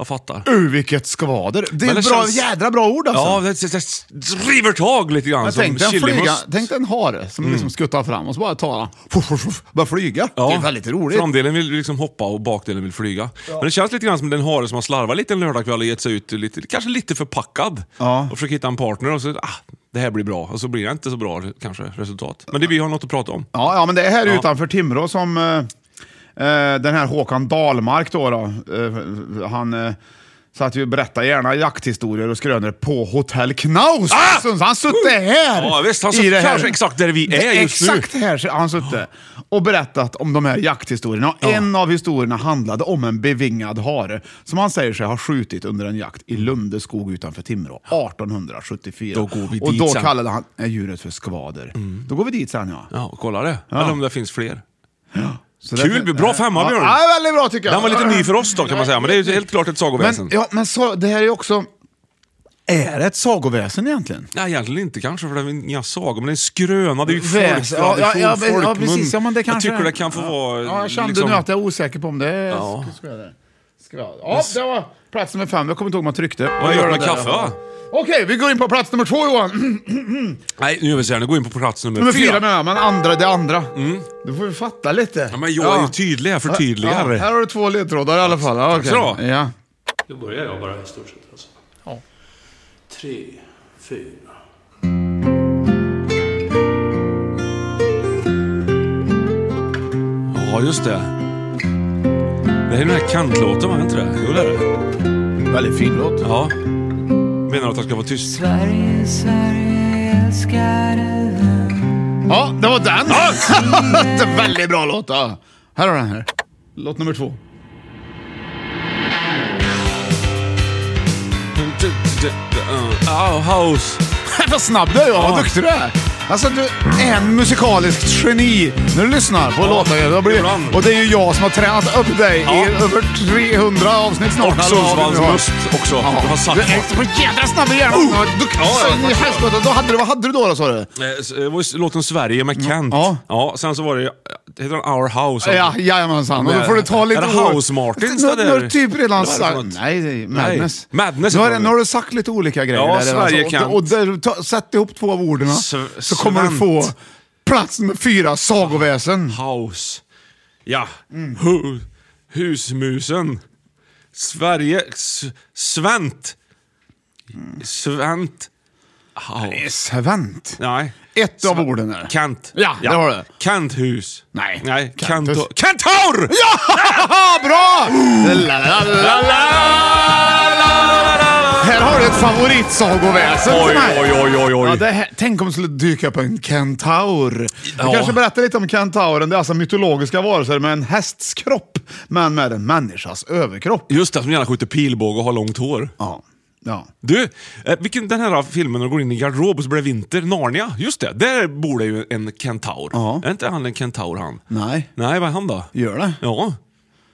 Speaker 2: Jag fattar.
Speaker 3: Uh, vilket skvader! Det är
Speaker 2: Men
Speaker 3: ett
Speaker 2: det
Speaker 3: bra,
Speaker 2: känns-
Speaker 3: jädra bra ord alltså.
Speaker 2: Ja, det, det, det river tag lite grann
Speaker 3: Men
Speaker 2: som
Speaker 3: tänk, den
Speaker 2: chilimus.
Speaker 3: flyga, tänk den hare som liksom skuttar fram och så bara tar han, fuff, fuff, fuff, bara flyga.
Speaker 2: Ja.
Speaker 3: Det är väldigt roligt.
Speaker 2: Framdelen vill liksom hoppa och bakdelen vill flyga. Men det känns lite grann som den hare som har slarvat lite en lördagkväll och gett sig ut lite, kanske lite förpackad.
Speaker 3: Ja.
Speaker 2: Och försöker hitta en partner och så, ah, det här blir bra. Och så blir det inte så bra kanske resultat. Men det vi har något att prata om.
Speaker 3: Ja, ja, men det är här
Speaker 2: Ja.
Speaker 3: utanför Timrå som eh, eh, den här Håkan Dahlmark då, då eh, han eh, satt ju och berättade gärna jakthistorier och skrönor på Hotell Knaus.
Speaker 2: Ah!
Speaker 3: Så Han suttit här!
Speaker 2: Ja, visst, han satt kanske exakt där vi är
Speaker 3: Det-
Speaker 2: just nu.
Speaker 3: Exakt här har han suttit och berättat om de här jakthistorierna. Och En av historierna handlade om en bevingad hare som han säger sig ha skjutit under en jakt i Lunde skog utanför Timrå 1874.
Speaker 2: Då går vi
Speaker 3: och
Speaker 2: dit
Speaker 3: då
Speaker 2: sen. Mm.
Speaker 3: kallade han eh, djuret för skvader. Då går vi dit sen ja.
Speaker 2: Ja, kolla det. Eller om det finns fler.
Speaker 3: Så
Speaker 2: Kul, bra femma, Björn.
Speaker 3: Ja, ja, väldigt bra tycker jag.
Speaker 2: Den var lite ny för oss då kan man säga, men det är ju helt klart ett sagoväsen.
Speaker 3: Men, ja, men så, det här är ju också... Är det ett sagoväsen egentligen?
Speaker 2: Nej, egentligen inte kanske, för det är inga sagor, men det är en skröna. Det är ju
Speaker 3: Väs-
Speaker 2: folktradition,
Speaker 3: ja, ja, ja,
Speaker 2: folkmun.
Speaker 3: ja, precis. Ja, men det kanske
Speaker 2: jag tycker det kan få
Speaker 3: ja.
Speaker 2: vara...
Speaker 3: Ja, jag kände
Speaker 2: liksom-
Speaker 3: nu att jag är osäker på om det är
Speaker 2: Ja.
Speaker 3: ja. skvader. Skvader. Ja, det var plats nummer fem. Jag kommer inte ihåg om man tryckte.
Speaker 2: Vad gör du med kaffe va?
Speaker 3: Okej, vi går in på plats nummer två Johan. (clears throat)
Speaker 2: Nej, nu är vi så här, nu går vi in på plats nummer, Mm.
Speaker 3: Nummer fyra menar jag, men andra, det andra. Då får vi fatta lite.
Speaker 2: Ja, men jag är ju tydlig, jag förtydligar.
Speaker 3: Ja, här har du två ledtrådar i alla fall. Ja, okej.
Speaker 2: så du
Speaker 3: Ja.
Speaker 5: Då börjar jag bara i stort sett alltså. Tre, fyra.
Speaker 2: Ja, just det. Det här är den här kantlåten, var det inte det? Jo, det är det.
Speaker 3: Väldigt fin låt.
Speaker 2: Ja. Menar du att jag ska vara tyst?
Speaker 4: Sverige, Sverige älskar dig
Speaker 3: Ja, det var den. (laughs) det är väldigt bra låt. Ja. Här har den här. Låt nummer två.
Speaker 2: Oh, house.
Speaker 3: Vad snabb du är, ja. vad duktig du är. Alltså du är en musikaliskt geni när du lyssnar på låtar. Det har blivit-
Speaker 2: ibland.
Speaker 3: och det är ju jag som har tränat upp dig
Speaker 2: Ja.
Speaker 3: i över 300 avsnitt snart.
Speaker 2: Och
Speaker 3: eller vad vi nu har.
Speaker 2: Sundsvalls must också.
Speaker 3: Ja.
Speaker 2: Du har sagt
Speaker 3: Du är så jädra snabb i hjärnan.
Speaker 2: Oh.
Speaker 3: Du-
Speaker 2: Ja, ja,
Speaker 3: så in i
Speaker 2: tack.
Speaker 3: helskotta. Då hade du, vad hade du då, då sa du?
Speaker 2: Eh, s- eh, var ju Låten Sverige med
Speaker 5: Mm.
Speaker 2: Kent.
Speaker 3: Ja.
Speaker 2: ja. Sen så var det, eh, heter den Our House?
Speaker 3: Ja, jajamensan. Och då får du ta lite
Speaker 2: Är det
Speaker 3: ord.
Speaker 2: House Martins,
Speaker 3: Nu
Speaker 2: eller?
Speaker 3: nu har du typ
Speaker 2: Vad är
Speaker 3: redan
Speaker 2: det för
Speaker 3: sagt...
Speaker 2: något?
Speaker 3: Nej, det är Madness.
Speaker 2: Nej, Madness
Speaker 3: nu, har, det-
Speaker 2: heter det.
Speaker 3: nu har du sagt lite olika grejer.
Speaker 2: Ja,
Speaker 3: där redan,
Speaker 2: Sverige
Speaker 3: så-
Speaker 2: kan.
Speaker 3: Och, och där, ta, sätt ihop två av orden
Speaker 2: Sv-
Speaker 3: så kommer du
Speaker 2: svänt.
Speaker 3: få plats med fyra sagoväsen.
Speaker 2: House. Ja. Hu, husmusen. Sverige. S, svänt. Svänt. House.
Speaker 3: Svent.
Speaker 2: Nej.
Speaker 3: Ett av orden är.
Speaker 2: Kant.
Speaker 3: Ja, det var det.
Speaker 2: Kanthus.
Speaker 3: Nej.
Speaker 2: Nej.
Speaker 3: Kanthus.
Speaker 2: Kantor. Kantor! Ja!
Speaker 3: Ja, Ah, bra!
Speaker 2: Mm.
Speaker 3: La, la, la, la. Här har du ett favoritsagoväsen
Speaker 2: Oj,
Speaker 3: till mig.
Speaker 2: oj, oj, oj, oj.
Speaker 3: Ja, det här, tänk om det skulle dyka upp en kentaur.
Speaker 2: Ja.
Speaker 3: Vi kanske berättar lite om kentauren. Det är alltså mytologiska varelser med en hästs kropp, men med en människas överkropp.
Speaker 2: Just det, som gärna skjuter pilbåge och har långt hår.
Speaker 3: Ja. ja.
Speaker 2: Du, eh, vilken, den här filmen när de går in i garderob och så blir det vinter, Narnia. Just det, där bor det ju en kentaur.
Speaker 3: Ja.
Speaker 2: Är inte han en kentaur han?
Speaker 3: Nej,
Speaker 2: Nej, vad är han då?
Speaker 3: gör det?
Speaker 2: Ja,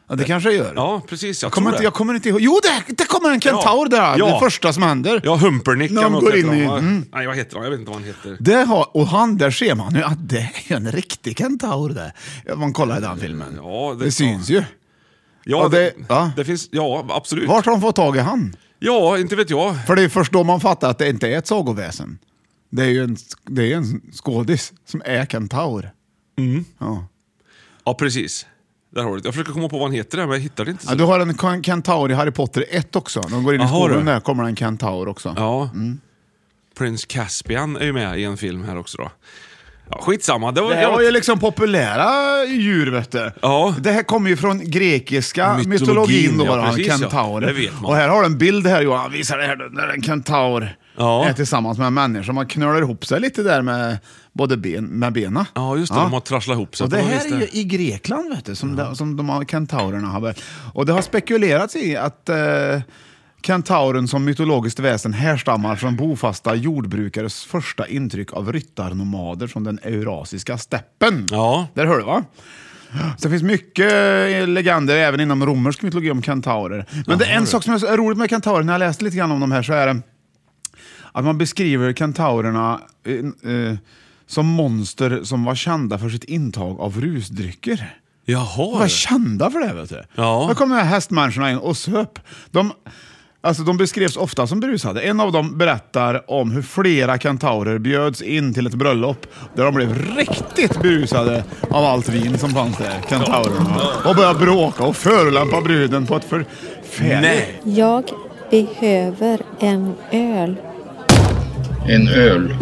Speaker 3: Ja, det kanske jag gör.
Speaker 2: ja precis. Jag
Speaker 3: Kommer
Speaker 2: tror
Speaker 3: inte,
Speaker 2: det.
Speaker 3: jag kommer inte ihåg. Jo, där, där kommer en kentaur där.
Speaker 2: Ja.
Speaker 3: Det första som händer.
Speaker 2: Ja, Humpernick.
Speaker 3: När de
Speaker 2: eller något
Speaker 3: går
Speaker 2: heter
Speaker 3: in i-
Speaker 2: va?
Speaker 3: mm.
Speaker 2: Nej, vad heter han? Jag vet inte vad han heter.
Speaker 3: Det har, och han, där ser man ju att det är ju en riktig kentaur det. Ja, Man kollar i den filmen.
Speaker 2: Ja, det-
Speaker 3: det, syns ju.
Speaker 2: Ja,
Speaker 3: Ja,
Speaker 2: det,
Speaker 3: det-
Speaker 2: det,
Speaker 3: ja.
Speaker 2: finns... Ja, absolut.
Speaker 3: Vart har de fått tag i han?
Speaker 2: Ja, inte vet jag.
Speaker 3: För det är först då man fattar att det inte är ett sagoväsen. Det är ju en, det är ju en skådis som är kentaur. Ja.
Speaker 2: Ja, precis. Där har du det. Jag försöker komma på vad han heter där, men jag hittar det inte.
Speaker 3: Ja,
Speaker 2: Så.
Speaker 3: du har en ken- kentaur i Harry Potter 1 också. När de går in i
Speaker 2: Aha,
Speaker 3: skolan
Speaker 2: du.
Speaker 3: där kommer en kentaur också.
Speaker 2: Ja.
Speaker 3: Mm.
Speaker 2: Prins Caspian är ju med i en film här också då. Ja, skitsamma. Det var,
Speaker 3: Det här var ju liksom populära djur vet du.
Speaker 2: Ja.
Speaker 3: Det här kommer ju från grekiska mytologin,
Speaker 2: Mytologin,
Speaker 3: då
Speaker 2: ja,
Speaker 3: bara,
Speaker 2: precis, ja.
Speaker 3: kentaur.
Speaker 2: Det vet man.
Speaker 3: Och här har du en bild här Johan, visar det här då, när en kentaur
Speaker 2: Ja.
Speaker 3: är tillsammans med en människa. Man knölar ihop sig lite där med både ben, med bena.
Speaker 2: Ja, just det. De har trasslat ihop sig.
Speaker 3: Och det
Speaker 2: på något
Speaker 3: här
Speaker 2: vis
Speaker 3: är ju
Speaker 2: där.
Speaker 3: i Grekland vet du, som, de, som de här kentaurerna har börjat. Och det har spekulerats i att eh, kentauren som mytologiskt väsen härstammar från bofasta jordbrukares första intryck av ryttarnomader från den eurasiska steppen.
Speaker 2: Ja.
Speaker 3: Där hör du va? Så det finns mycket eh, legender även inom romersk mytologi om kentaurer. Men det är en sak som är så- är roligt med kentaurer, när jag läste lite grann om de här så är det att man beskriver kentaurerna eh, eh, som monster som var kända för sitt intag av rusdrycker. De
Speaker 2: Jaha.
Speaker 3: var kända för det, vet du.
Speaker 2: Ja.
Speaker 3: Då kom de här hästmänniskorna in och söp. De, alltså, de beskrevs ofta som brusade. En av dem berättar om hur flera kentaurer bjöds in till ett bröllop där de blev riktigt brusade av allt vin som fanns där, kentaurerna. Och började bråka och förolämpa bruden på ett förfärligt...
Speaker 2: Nej.
Speaker 6: Jag behöver en öl.
Speaker 7: En öl.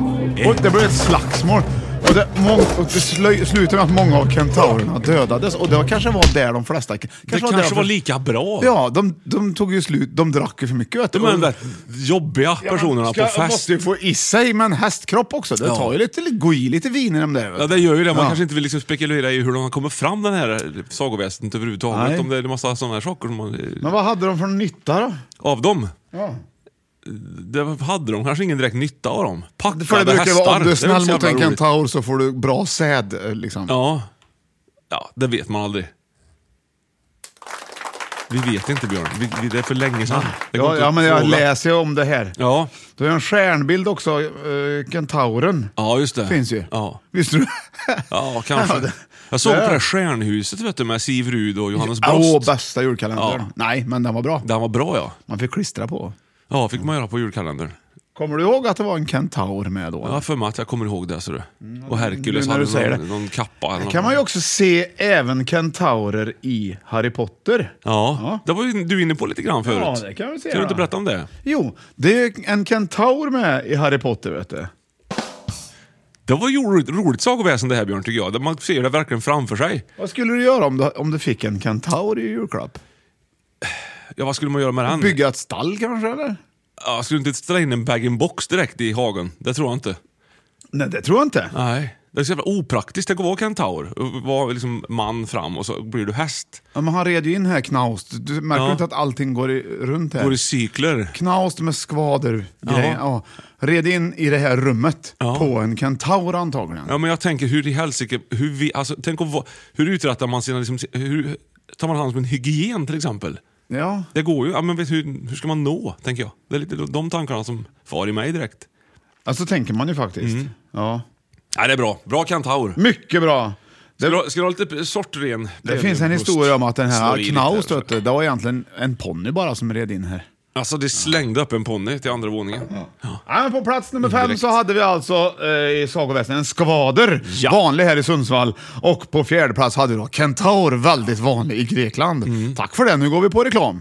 Speaker 3: Och det blev ett slagsmål. Och det, mång, och det slö, slutade med att många av kentaurerna dödades och det kanske var där de flesta... Kanske
Speaker 2: Det
Speaker 3: där
Speaker 2: kanske
Speaker 3: de-
Speaker 2: var lika bra.
Speaker 3: Ja, de, de tog ju slut. De drack ju för mycket vet du.
Speaker 2: De är de
Speaker 3: Och-
Speaker 2: där jobbiga personerna
Speaker 3: ska,
Speaker 2: på fest.
Speaker 3: måste ju få i sig med en hästkropp också. Det
Speaker 2: Ja.
Speaker 3: tar ju lite, gå i lite vin i dem där. vet
Speaker 2: Ja,
Speaker 3: du.
Speaker 2: det gör ju det. Man
Speaker 3: Ja.
Speaker 2: kanske inte vill liksom spekulera i hur de har kommit fram den här sagoväsendet överhuvudtaget.
Speaker 3: Nej.
Speaker 2: Om det är en massa sådana här saker som man, eh,
Speaker 3: Men vad hade de för nytta då?
Speaker 2: av dem.
Speaker 3: Ja.
Speaker 2: Det hade de kanske ingen direkt nytta av dem. Packade
Speaker 3: För det brukar ju
Speaker 2: hästar.
Speaker 3: vara om du är
Speaker 2: Det väl
Speaker 3: snäll
Speaker 2: så
Speaker 3: mot en
Speaker 2: jävla roligt.
Speaker 3: kentaur så får du bra säd. eh, Liksom.
Speaker 2: Ja. ja, det vet man aldrig. Vi vet inte Björn. Vi, vi, det är för länge sedan. Det går
Speaker 3: Ja,
Speaker 2: inte
Speaker 3: ja,
Speaker 2: att
Speaker 3: men jag
Speaker 2: fråga.
Speaker 3: läser ju om det här.
Speaker 2: Ja.
Speaker 3: Du har en stjärnbild också, eh, kentauren.
Speaker 2: ja, just det.
Speaker 3: Finns ju.
Speaker 2: Ja,
Speaker 3: Visste du?
Speaker 2: ja
Speaker 3: (laughs)
Speaker 2: kanske.
Speaker 3: Ja, det-
Speaker 2: Jag såg på
Speaker 3: det-
Speaker 2: det där Stjärnhuset vet du, med Siv Rud och Johannes
Speaker 3: Åh,
Speaker 2: Brost.
Speaker 3: bästa julkalendern.
Speaker 2: Ja.
Speaker 3: Nej, men den var bra.
Speaker 2: Den var bra ja.
Speaker 3: Man fick klistra på.
Speaker 2: Ja, fick man göra på julkalendern.
Speaker 3: Kommer du ihåg att det var en kentaur med då?
Speaker 2: Jag har för mig att jag kommer ihåg det. Så du. Och
Speaker 3: Mm, nu
Speaker 2: Herkules
Speaker 3: när du
Speaker 2: hade
Speaker 3: säger
Speaker 2: någon,
Speaker 3: det.
Speaker 2: någon kappa. eller
Speaker 3: Det
Speaker 2: något.
Speaker 3: kan man ju också se även kentaurer i Harry Potter.
Speaker 2: Ja,
Speaker 3: Ja.
Speaker 2: det var ju du inne på lite grann förut.
Speaker 3: Ja, det kan vi se
Speaker 2: Kan du inte
Speaker 3: då.
Speaker 2: berätta om det?
Speaker 3: Jo, det är en kentaur med i Harry Potter vet du.
Speaker 2: Det var ju roligt, roligt sagoväsen det här Björn, tycker jag. Man ser det verkligen framför sig.
Speaker 3: Vad skulle du göra om du, om du fick en kentaur i julklapp?
Speaker 2: Ja, vad skulle man göra med den?
Speaker 3: Bygga ett stall kanske eller?
Speaker 2: Ja, skulle du inte ställa in en bag-in-box direkt i hagen? Det tror jag inte.
Speaker 3: Nej, det tror jag inte.
Speaker 2: Nej. Det är så jävla opraktiskt. Det går att vara kentaur. Och Vara liksom man fram och så blir du häst.
Speaker 3: Ja, men han red ju in här Knaust. Du märker
Speaker 2: Ja.
Speaker 3: inte att allting går i, runt här?
Speaker 2: Går i cykler.
Speaker 3: Knaust med skvader grejer. Ja. Red in i det här rummet
Speaker 2: Ja.
Speaker 3: på en kentaur antagligen.
Speaker 2: Ja, men jag tänker hur i helsike, hur vi, alltså, tänk om, vad- hur uträttar man sina, liksom, hur tar man hand om en hygien till exempel?
Speaker 3: Ja.
Speaker 2: Det går ju, ja, men vet, du, hur, hur ska man nå, tänker jag. Det är lite de tankarna som far i mig direkt.
Speaker 3: Alltså tänker man ju faktiskt.
Speaker 2: Mm.
Speaker 3: Ja.
Speaker 2: Nej, det är bra. Bra kantaur.
Speaker 3: Mycket bra.
Speaker 2: Ska du, ha- ska du ha lite sortren?
Speaker 3: Det finns en historia om att den
Speaker 2: Slår i
Speaker 3: här
Speaker 2: lite
Speaker 3: Knaust,
Speaker 2: här,
Speaker 3: vet du, det var egentligen en ponny bara som red in här.
Speaker 2: Alltså, det slängde upp en ponny till andra våningen.
Speaker 3: Ja, men på plats nummer fem
Speaker 2: Indirekt.
Speaker 3: så hade vi alltså eh, i sagoväsen en skvader, vanlig här i Sundsvall. Och på fjärde plats hade vi då kentaur, väldigt vanlig i Grekland. Tack för det, nu går vi på reklam.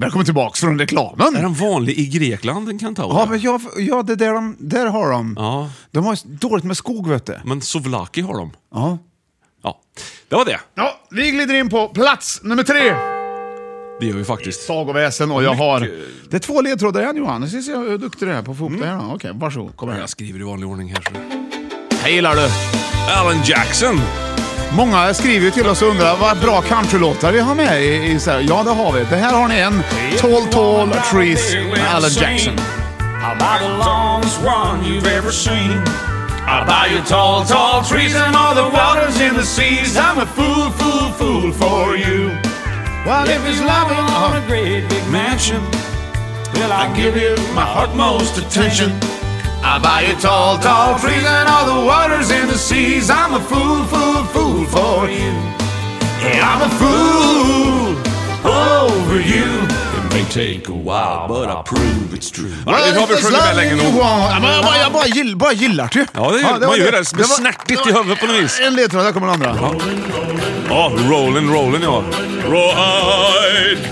Speaker 3: Välkommen tillbaks från reklamen!
Speaker 2: Är den vanlig i Grekland, en kantaur?
Speaker 3: Ja, men jag, ja det där, de, där har de.
Speaker 2: Ja.
Speaker 3: De har ju dåligt med skog, vet du.
Speaker 2: Men souvlaki har de.
Speaker 3: Ja.
Speaker 2: Ja, det var det.
Speaker 3: Ja, vi glider in på plats nummer tre.
Speaker 2: Det gör vi faktiskt.
Speaker 3: Sagoväsen och jag har...
Speaker 2: Mycket.
Speaker 3: Det är två ledtrådar igen Johan. Nu ser jag hur duktig du är på att få ihop det här. Okej, varsågod. Kom här.
Speaker 2: Jag skriver i vanlig ordning här. så-
Speaker 3: Hej gillar du!
Speaker 2: Alan Jackson!
Speaker 3: Många skriver ju till oss och undrar vad bra countrylåtar vi har med i, i så här. Ja, det har vi. Det här har ni en. Tall Tall Trees med Alan Jackson.
Speaker 8: I'll buy the longest one you've ever seen. I'll buy you tall, tall trees and all the waters in the seas. I'm a fool, fool, fool for you.
Speaker 3: Well,
Speaker 8: if it's loving on a great big mansion, well, I'll give you my utmost attention. I'll buy you tall, tall trees and all the waters in the seas. I'm a fool, fool, fool for you. Yeah, I'm a fool over you. It may take a while, but I prove it's true.
Speaker 2: Ja, det har vi sjungit med länge nog.
Speaker 3: Ja, men jag bara, jag bara, gill, bara gillar det.
Speaker 2: Ja, det gör,
Speaker 3: var
Speaker 2: man gör det. Det blir
Speaker 3: var-
Speaker 2: snärtigt
Speaker 3: det
Speaker 2: i
Speaker 3: var-
Speaker 2: huvudet på något vis.
Speaker 3: En ledtråd, där kommer den andra. Ja,
Speaker 2: Ja, rolling, rolling ja. Ride.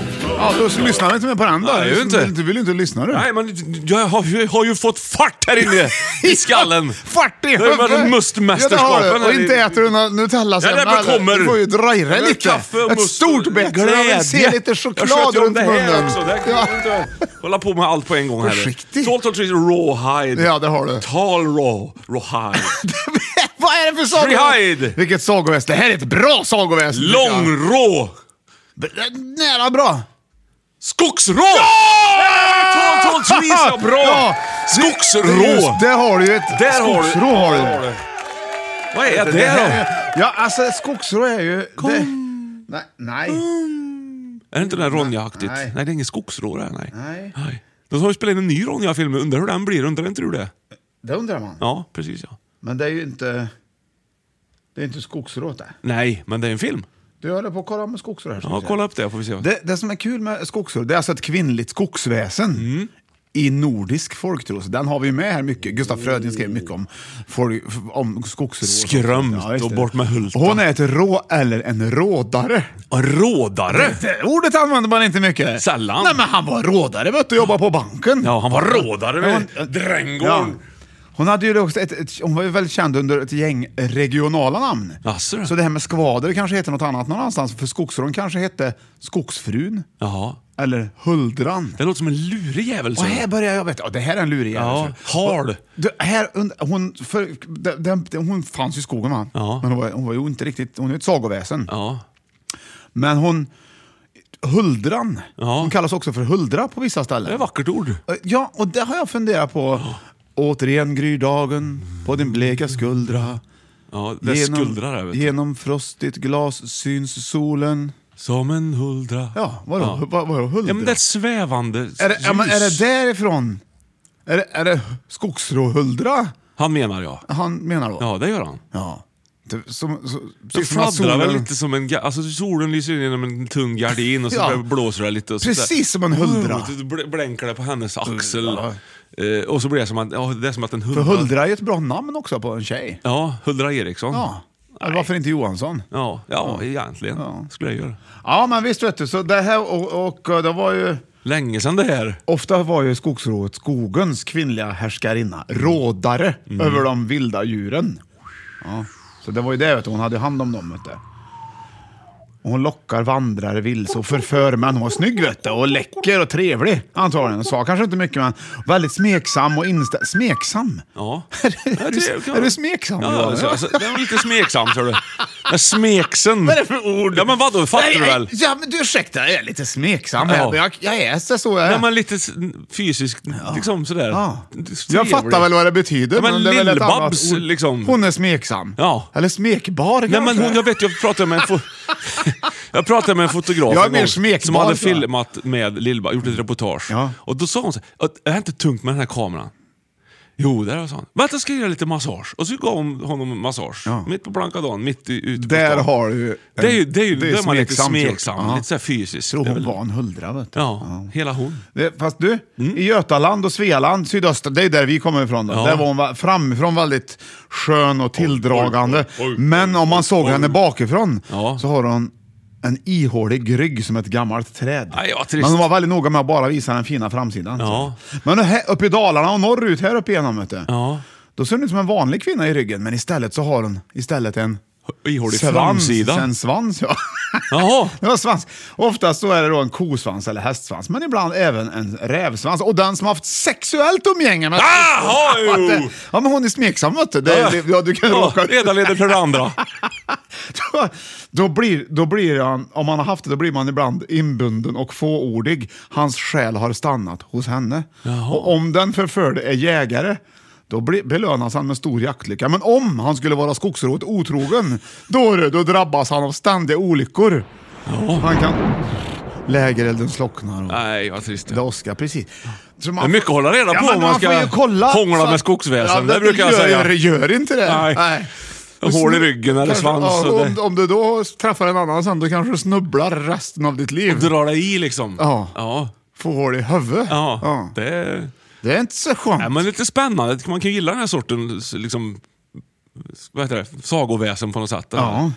Speaker 3: då lyssnar vi inte mer på den då.
Speaker 2: Nej, det gör vi inte.
Speaker 3: Du vill ju inte lyssna du.
Speaker 2: Nej, men jag har, jag har ju fått fart här
Speaker 3: (laughs)
Speaker 2: inne i skallen.
Speaker 3: Fart i
Speaker 2: Det har ju varit
Speaker 3: huvudet!
Speaker 2: mustmästerskapen
Speaker 3: Ja, det har du. Och
Speaker 2: här i-
Speaker 3: inte äter du några
Speaker 2: Ja, det
Speaker 3: Nutellasemmar.
Speaker 2: bara kommer.
Speaker 3: Du får ju dra i dig
Speaker 2: Det är
Speaker 3: lite.
Speaker 2: kaffe och
Speaker 3: Ett
Speaker 2: must-
Speaker 3: stort bett. Jag vill se
Speaker 2: glädje.
Speaker 3: lite
Speaker 2: Jag
Speaker 3: choklad
Speaker 2: sköt ju om
Speaker 3: runt
Speaker 2: det här
Speaker 3: munnen.
Speaker 2: också. Det här kan
Speaker 3: Ja.
Speaker 2: jag inte hålla på med allt på en gång.
Speaker 3: Försiktig.
Speaker 2: Här. Tall Trees Rawhide.
Speaker 3: Ja, det har du.
Speaker 2: Tall Raw. Rawhide.
Speaker 3: (laughs) Vad är det för
Speaker 2: Freehide.
Speaker 3: sagoväsen? Vilket sagoväsen. Det här är ett bra sagoväsen. tycker jag.
Speaker 2: Lång Rå.
Speaker 3: B- Nära bra.
Speaker 2: Skogsrå! Ja! Tall Tall Trees ja, bra!
Speaker 3: Ja.
Speaker 2: Skogsrå.
Speaker 3: Just, där har du ju ett
Speaker 2: Där har du-
Speaker 3: skogsrå. Har
Speaker 2: där har
Speaker 3: du.
Speaker 2: du. Vad är det då?
Speaker 3: Ja, alltså skogsrå är ju... Det, nej, nej.
Speaker 2: Är det inte den där Ronja-aktigt?
Speaker 3: Nej.
Speaker 2: Nej. det är ingen skogsrå där. Nej.
Speaker 3: Nej.
Speaker 2: De har ju spelat in en ny Ronja-film. Undrar hur den blir. Undrar inte du det?
Speaker 3: Det undrar man.
Speaker 2: Ja, precis ja.
Speaker 3: Men det är ju inte... Det är inte skogsrået det.
Speaker 2: Nej, men det är en film.
Speaker 3: Du håller på att kolla med skogsrå här. ska
Speaker 2: Ja,
Speaker 3: vi se.
Speaker 2: kolla upp det får vi se.
Speaker 3: Det, det som är kul med skogsrå, det är alltså ett kvinnligt skogsväsen.
Speaker 2: Mm.
Speaker 3: I nordisk folktro, så den har vi med här mycket. Gustaf Fröding skrev mycket om, folk, om skogsrå. och sånt.
Speaker 2: Skrömt
Speaker 3: just
Speaker 2: och
Speaker 3: det.
Speaker 2: bort med Hulta.
Speaker 3: Hon är ett rå eller en rådare.
Speaker 2: En rådare!
Speaker 3: Det ordet använder man inte mycket.
Speaker 2: Sällan.
Speaker 3: Nej, men han var rådare vet du, jobbade på banken.
Speaker 2: Ja, han var rådare vid
Speaker 3: Ja, hon-
Speaker 2: Drängården.
Speaker 3: Hon, hade ju också ett, ett, hon var ju väldigt känd under ett gäng regionala namn.
Speaker 2: Jaså, du?
Speaker 3: Så det här med skvader kanske heter något annat någon annanstans. För skogsrån kanske hette skogsfrun.
Speaker 2: Jaha.
Speaker 3: Eller huldran.
Speaker 2: Det låter som en lurig jävel. så.
Speaker 3: Och här börjar jag veta, ja, det här är en lurig
Speaker 2: Ja,
Speaker 3: jävel.
Speaker 2: hard.
Speaker 3: Det här, und- hon, för, det- det- hon fanns ju i skogen va?
Speaker 2: Ja.
Speaker 3: Men hon var, hon var ju inte riktigt, hon är ju ett sagoväsen.
Speaker 2: Ja.
Speaker 3: Men hon... Huldran.
Speaker 2: Ja.
Speaker 3: Hon kallas också för huldra på vissa
Speaker 2: Det är
Speaker 3: ställen. Eh,
Speaker 2: ett vackert ord.
Speaker 3: Ja, och det har jag funderat på. Återigen grydagen på din bleka skuldra.
Speaker 2: Ja, det är skuldrar här, vet du.
Speaker 3: Genom frostigt glas syns solen.
Speaker 2: Som en huldra.
Speaker 3: Ja, vadå?
Speaker 2: Ja.
Speaker 3: Vad, vadå huldra?
Speaker 2: Ja, men det är ett svävande
Speaker 3: är, det, ja, men är det
Speaker 2: ljus.
Speaker 3: därifrån? Är det, är det skogsråhuldra
Speaker 2: Han menar jag.
Speaker 3: han menar då?
Speaker 2: Ja, det gör han.
Speaker 3: ja. Det- Som, så,
Speaker 2: Det
Speaker 3: som att
Speaker 2: fladdrar väl
Speaker 3: solen-
Speaker 2: lite som en... ga- Alltså solen lyser in genom en tunn gardin och så
Speaker 3: Ja.
Speaker 2: blåser det lite. Och så
Speaker 3: Precis
Speaker 2: där.
Speaker 3: som en huldra.
Speaker 2: Oh, det bl- Blänkar det på hennes axel. Eh, och så blir det som att, ja, det är som att en
Speaker 3: För
Speaker 2: huldra...
Speaker 3: huldra är ju ett bra namn också på en tjej.
Speaker 2: Ja, Huldra Eriksson.
Speaker 3: Ja. Eller varför inte Johansson?
Speaker 2: Ja, ja, egentligen
Speaker 3: Ja.
Speaker 2: skulle jag göra.
Speaker 3: Ja, men visst vet du. Så det här och, och det var ju...
Speaker 2: Länge sedan det här.
Speaker 3: Ofta var ju skogsrået skogens kvinnliga härskarinna, rådare över de vilda djuren. Ja, så det var ju det, vet du. hon hade hand om dem. Vet du. Och Hon lockar vandrare vilse och förför män. Hon var snygg vet du, och läcker och trevlig antagligen. Hon sa kanske inte mycket men väldigt smeksam och inställd. Smeksam?
Speaker 2: Ja.
Speaker 3: (laughs) Är, du,
Speaker 2: Ja, det-
Speaker 3: är du smeksam?
Speaker 2: Ja,
Speaker 3: Johan?
Speaker 2: alltså, alltså, den var lite smeksam tror du. Men smeksen.
Speaker 3: Vad är det för ord?
Speaker 2: Ja men vadå, fattar
Speaker 3: Nej,
Speaker 2: du
Speaker 3: nej,
Speaker 2: väl?
Speaker 3: Ja, men du ursäkta, jag är lite smeksam. här.
Speaker 2: Ja.
Speaker 3: Jag, jag är så, så jag är.
Speaker 2: Ja men lite s- fysiskt, liksom sådär.
Speaker 3: Ja.
Speaker 2: Trevlig.
Speaker 3: Jag fattar väl vad det betyder.
Speaker 2: Ja, men
Speaker 3: det är väl ett annat
Speaker 2: Lill-Babs,
Speaker 3: ord.
Speaker 2: liksom.
Speaker 3: Hon är smeksam.
Speaker 2: Ja.
Speaker 3: Eller smekbar
Speaker 2: Nej men
Speaker 3: kanske.
Speaker 2: hon, jag vet jag pratade med en
Speaker 3: (laughs)
Speaker 2: fo- Jag pratade med en fotograf
Speaker 3: Jag är
Speaker 2: en
Speaker 3: mer
Speaker 2: gång
Speaker 3: smekbar,
Speaker 2: som hade
Speaker 3: tror jag.
Speaker 2: filmat med Lilba, gjort ett reportage.
Speaker 3: Ja.
Speaker 2: Och då sa hon så här, "Att, är det inte tungt med den här kameran? Jo, där sa han. Vänta, ska jag göra lite massage. Och så gav hon honom en massage.
Speaker 3: Ja.
Speaker 2: Mitt på blanka dagen, mitt i, ute på
Speaker 3: Där
Speaker 2: stan.
Speaker 3: har du en,
Speaker 2: Det är ju, det är ju,
Speaker 3: det är
Speaker 2: då är man lite
Speaker 3: smeksamt gjort.
Speaker 2: smeksam,
Speaker 3: Ja.
Speaker 2: lite såhär fysiskt.
Speaker 3: tror
Speaker 2: Det är
Speaker 3: hon
Speaker 2: väl-
Speaker 3: var en huldra vet du.
Speaker 2: Ja, hela hon.
Speaker 3: Det, fast du, i Götaland och Svealand, sydöstra, det är där vi kommer ifrån. Då.
Speaker 2: Ja.
Speaker 3: Där var hon va- framifrån väldigt skön och tilldragande.
Speaker 2: oj, oj, oj,
Speaker 3: Men om man
Speaker 2: oj,
Speaker 3: såg
Speaker 2: oj.
Speaker 3: henne bakifrån
Speaker 2: Ja.
Speaker 3: så har hon en ihålig rygg som ett gammalt träd.
Speaker 2: Nej, ja, trist.
Speaker 3: Men de var väldigt noga med att bara visa den fina framsidan.
Speaker 2: Ja.
Speaker 3: så. Men här, uppe i Dalarna och norrut, här uppe igenom, vet du,
Speaker 2: Ja.
Speaker 3: då ser hon ut som en vanlig kvinna i ryggen, men istället så har hon istället en
Speaker 2: Ihålig
Speaker 3: svans.
Speaker 2: framsida.
Speaker 3: En svans, ja.
Speaker 2: Jaha.
Speaker 3: (laughs) Det var svans. Oftast så är det då en kosvans eller hästsvans, men ibland även en rävsvans. Och den som haft sexuellt umgänge med...
Speaker 2: Jaha, jo!
Speaker 3: Ja, men hon är smeksam, vet du. Det, det, ja, du kan
Speaker 2: Ja,
Speaker 3: råka...
Speaker 2: Det ena leder till det andra.
Speaker 3: då, (laughs) då, blir, då blir han, om man har haft det, då blir man ibland inbunden och fåordig. Hans själ har stannat hos henne. Och om den förförde är jägare, då blir, belönas han med stor jaktlycka. Men om han skulle vara skogsrået otrogen, då, du, då drabbas han av ständiga olyckor. Han kan... Lägerelden slocknar och
Speaker 2: Nej, vad trist.
Speaker 3: det åskar precis. Så
Speaker 2: Det är mycket att hålla reda
Speaker 3: Ja,
Speaker 2: på
Speaker 3: men
Speaker 2: om man ska
Speaker 3: får ju kolla,
Speaker 2: hångla
Speaker 3: så att-
Speaker 2: med skogsväsen.
Speaker 3: Ja,
Speaker 2: det, brukar jag
Speaker 3: gör,
Speaker 2: säga.
Speaker 3: Gör inte det.
Speaker 2: Nej. Hål i ryggen eller
Speaker 3: Kanske-
Speaker 2: svans.
Speaker 3: ja,
Speaker 2: och
Speaker 3: om,
Speaker 2: det,
Speaker 3: om du då träffar en annan sen, då kanske du snubblar resten av ditt liv.
Speaker 2: drar det i liksom.
Speaker 3: Ja.
Speaker 2: Ja.
Speaker 3: Får hål i huvudet.
Speaker 2: Ja.
Speaker 3: Ja.
Speaker 2: Det är...
Speaker 3: Det är inte så skönt.
Speaker 2: Nej, men lite spännande. Man kan gilla den här sortens liksom, vad heter det? sagoväsen på något sätt.
Speaker 3: Ja.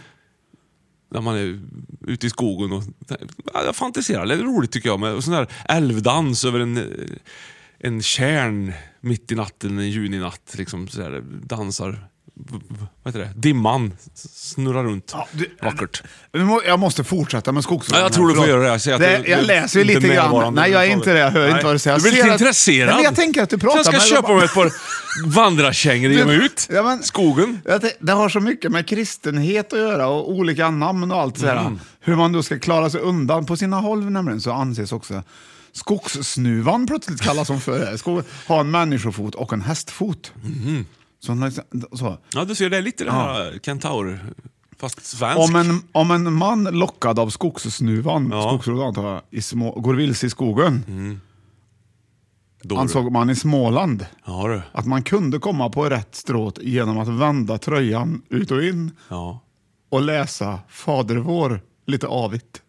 Speaker 2: När man är ute i skogen och ja, jag fantiserar. Det är roligt tycker jag. Med sån där älvdans över en, eh, en tjärn mitt i natten en juninatt. Liksom, så där, dansar. v- v- Vad heter det? Dimman snurrar runt. Vackert.
Speaker 3: Nu må- Jag måste fortsätta med skogsröret.
Speaker 2: Ja, jag tror du får
Speaker 3: Förlåt.
Speaker 2: göra det. Jag säger att du-
Speaker 3: jag
Speaker 2: du-
Speaker 3: läser ju
Speaker 2: inte
Speaker 3: lite grann.
Speaker 2: närvarande
Speaker 3: Nej, jag är inte det. Jag hör
Speaker 2: överhuvudtaget.
Speaker 3: inte vad du säger. Jag
Speaker 2: Du är
Speaker 3: ser
Speaker 2: lite
Speaker 3: att-
Speaker 2: intresserad.
Speaker 3: Nej, men jag tänker att du pratar
Speaker 2: Sen ska jag
Speaker 3: med-
Speaker 2: köpa mig ett par vandrarkängor och ge mig ut.
Speaker 3: Ja, men-
Speaker 2: Skogen.
Speaker 3: Jag tänk- Det har så mycket med kristenhet att göra och olika namn och allt sådär.
Speaker 2: Mm.
Speaker 3: Hur man då ska klara sig undan. På sina håll nämligen så anses också skogssnuvan plötsligt kallas som för
Speaker 2: (laughs)
Speaker 3: det. Skog, ha en människofot och en hästfot.
Speaker 2: Mhm.
Speaker 3: Så, hon liksom- så.
Speaker 2: Ja, du ser, det är lite det här kentaur, fast svensk.
Speaker 3: Om, en, om en man lockad av skogssnuvan,
Speaker 2: Ja. Mm,
Speaker 3: skogsrod antar jag, i små, går vilse i skogen,
Speaker 2: Då du.
Speaker 3: ansåg man i Småland
Speaker 2: Ja du.
Speaker 3: att man kunde komma på rätt stråt genom att vända tröjan ut och in
Speaker 2: Ja.
Speaker 3: och läsa Fader vår lite avigt.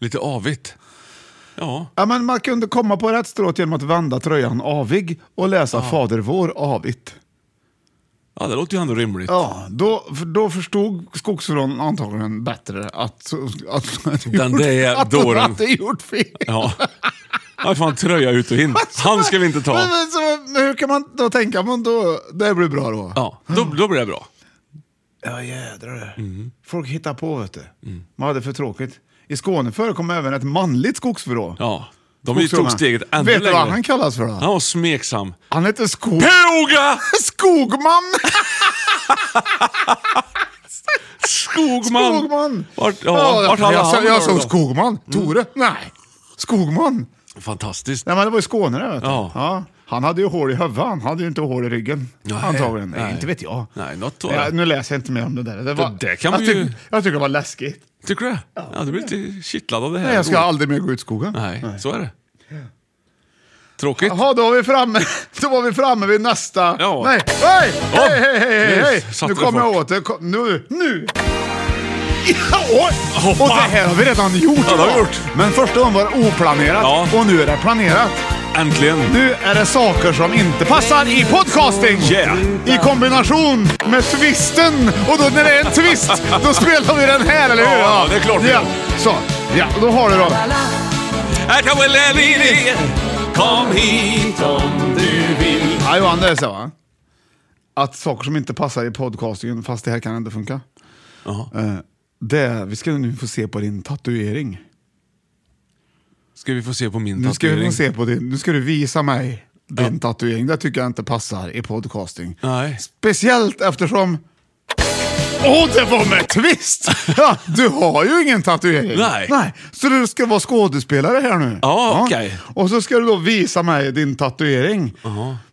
Speaker 2: Lite avigt. Ja.
Speaker 3: Ja, men man kunde komma på rätt stråt genom att vända tröjan avig och läsa Fader vår avigt.
Speaker 2: ja, det låter ju ändå rimligt.
Speaker 3: Ja, då, för då förstod skogsförråden antagligen bättre att, att, att,
Speaker 2: Den
Speaker 3: gjort,
Speaker 2: där
Speaker 3: att de
Speaker 2: dåren.
Speaker 3: hade gjort fel.
Speaker 2: Ja. Ja, fan tröja ut och in. (laughs) Han ska vi inte
Speaker 3: Alltså, Men,
Speaker 2: ta.
Speaker 3: men, så, men hur kan man då tänka? Men då, det blir bra då.
Speaker 2: Ja, då, då blir det bra.
Speaker 3: Ja, jädrar Mm. Folk hittar på, vet du.
Speaker 2: Mm.
Speaker 3: Man hade för tråkigt. I Skåne förekom även ett manligt skogsförråd.
Speaker 2: Ja. De ju tog steget ännu
Speaker 3: Vet du
Speaker 2: längre.
Speaker 3: vad han kallas för då?
Speaker 2: Han var smeksam.
Speaker 3: Han heter Skog...
Speaker 2: Poga!
Speaker 3: Skogman!
Speaker 2: Skogman!
Speaker 3: Skogman!
Speaker 2: Vart, ja, vart hade
Speaker 3: jag,
Speaker 2: han
Speaker 3: sa- jag
Speaker 2: då? Mm.
Speaker 3: såg Skogman. Tore? Nej. Skogman.
Speaker 2: Fantastiskt.
Speaker 3: Nej, men det var i Skåne det, vet du.
Speaker 2: Ja.
Speaker 3: Han hade ju hår i huvudet, han hade ju inte hår i ryggen.
Speaker 2: Nej.
Speaker 3: Antagligen.
Speaker 2: Nej.
Speaker 3: Inte vet jag.
Speaker 2: Nej, något då.
Speaker 3: Ja, nu läser jag inte mer om det där. Det, var,
Speaker 2: där kan man
Speaker 3: jag,
Speaker 2: ju-
Speaker 3: tyck, jag tycker det var läskigt.
Speaker 2: Tycker du det? Ja, du blir lite kittlad av det här.
Speaker 3: Nej, jag ska aldrig mer gå ut i skogen.
Speaker 2: Nej, så är det. Tråkigt.
Speaker 3: Jaha, då var vi framme, (laughs) då var vi framme vid nästa...
Speaker 2: Ja.
Speaker 3: Nej! Hej! Hej, hej, hej, hej,
Speaker 2: nu
Speaker 3: hej!
Speaker 2: satte
Speaker 3: Nu
Speaker 2: det
Speaker 3: kommer jag
Speaker 2: fart.
Speaker 3: åt det. Kom- Nu! Nu! Ja, oj! Och det här har vi redan gjort.
Speaker 2: Ja, det har vi
Speaker 3: idag.
Speaker 2: gjort.
Speaker 3: Men första gången var det oplanerat
Speaker 2: Ja.
Speaker 3: och nu är det planerat.
Speaker 2: Äntligen.
Speaker 3: Nu är det saker som inte passar i podcasting.
Speaker 2: Yeah.
Speaker 3: I kombination med twisten. Och då när det är en
Speaker 2: (laughs)
Speaker 3: twist, då spelar vi den här, eller hur?
Speaker 2: Ja, det är klart vi
Speaker 3: Ja.
Speaker 2: gör.
Speaker 3: Så, ja, då har du då.
Speaker 2: Här kan väl en idé. Kom hit om du vill.
Speaker 3: Ja, Johan, det är så va? Att saker som inte passar i podcastingen, fast det här kan ändå funka. Eh, Det, vi ska nu få se på din tatuering.
Speaker 2: Ska vi få se på min
Speaker 3: Nu ska, vi
Speaker 2: tatuering?
Speaker 3: få se på din, nu ska du visa mig din tatuering. Det tycker jag inte passar i podcasting.
Speaker 2: Nej.
Speaker 3: Speciellt eftersom... Åh, det var med twist! Ja, du har ju ingen tatuering.
Speaker 2: Nej.
Speaker 3: Så du ska vara skådespelare här nu.
Speaker 2: Ja, okej.
Speaker 3: Och så ska du då visa mig din tatuering.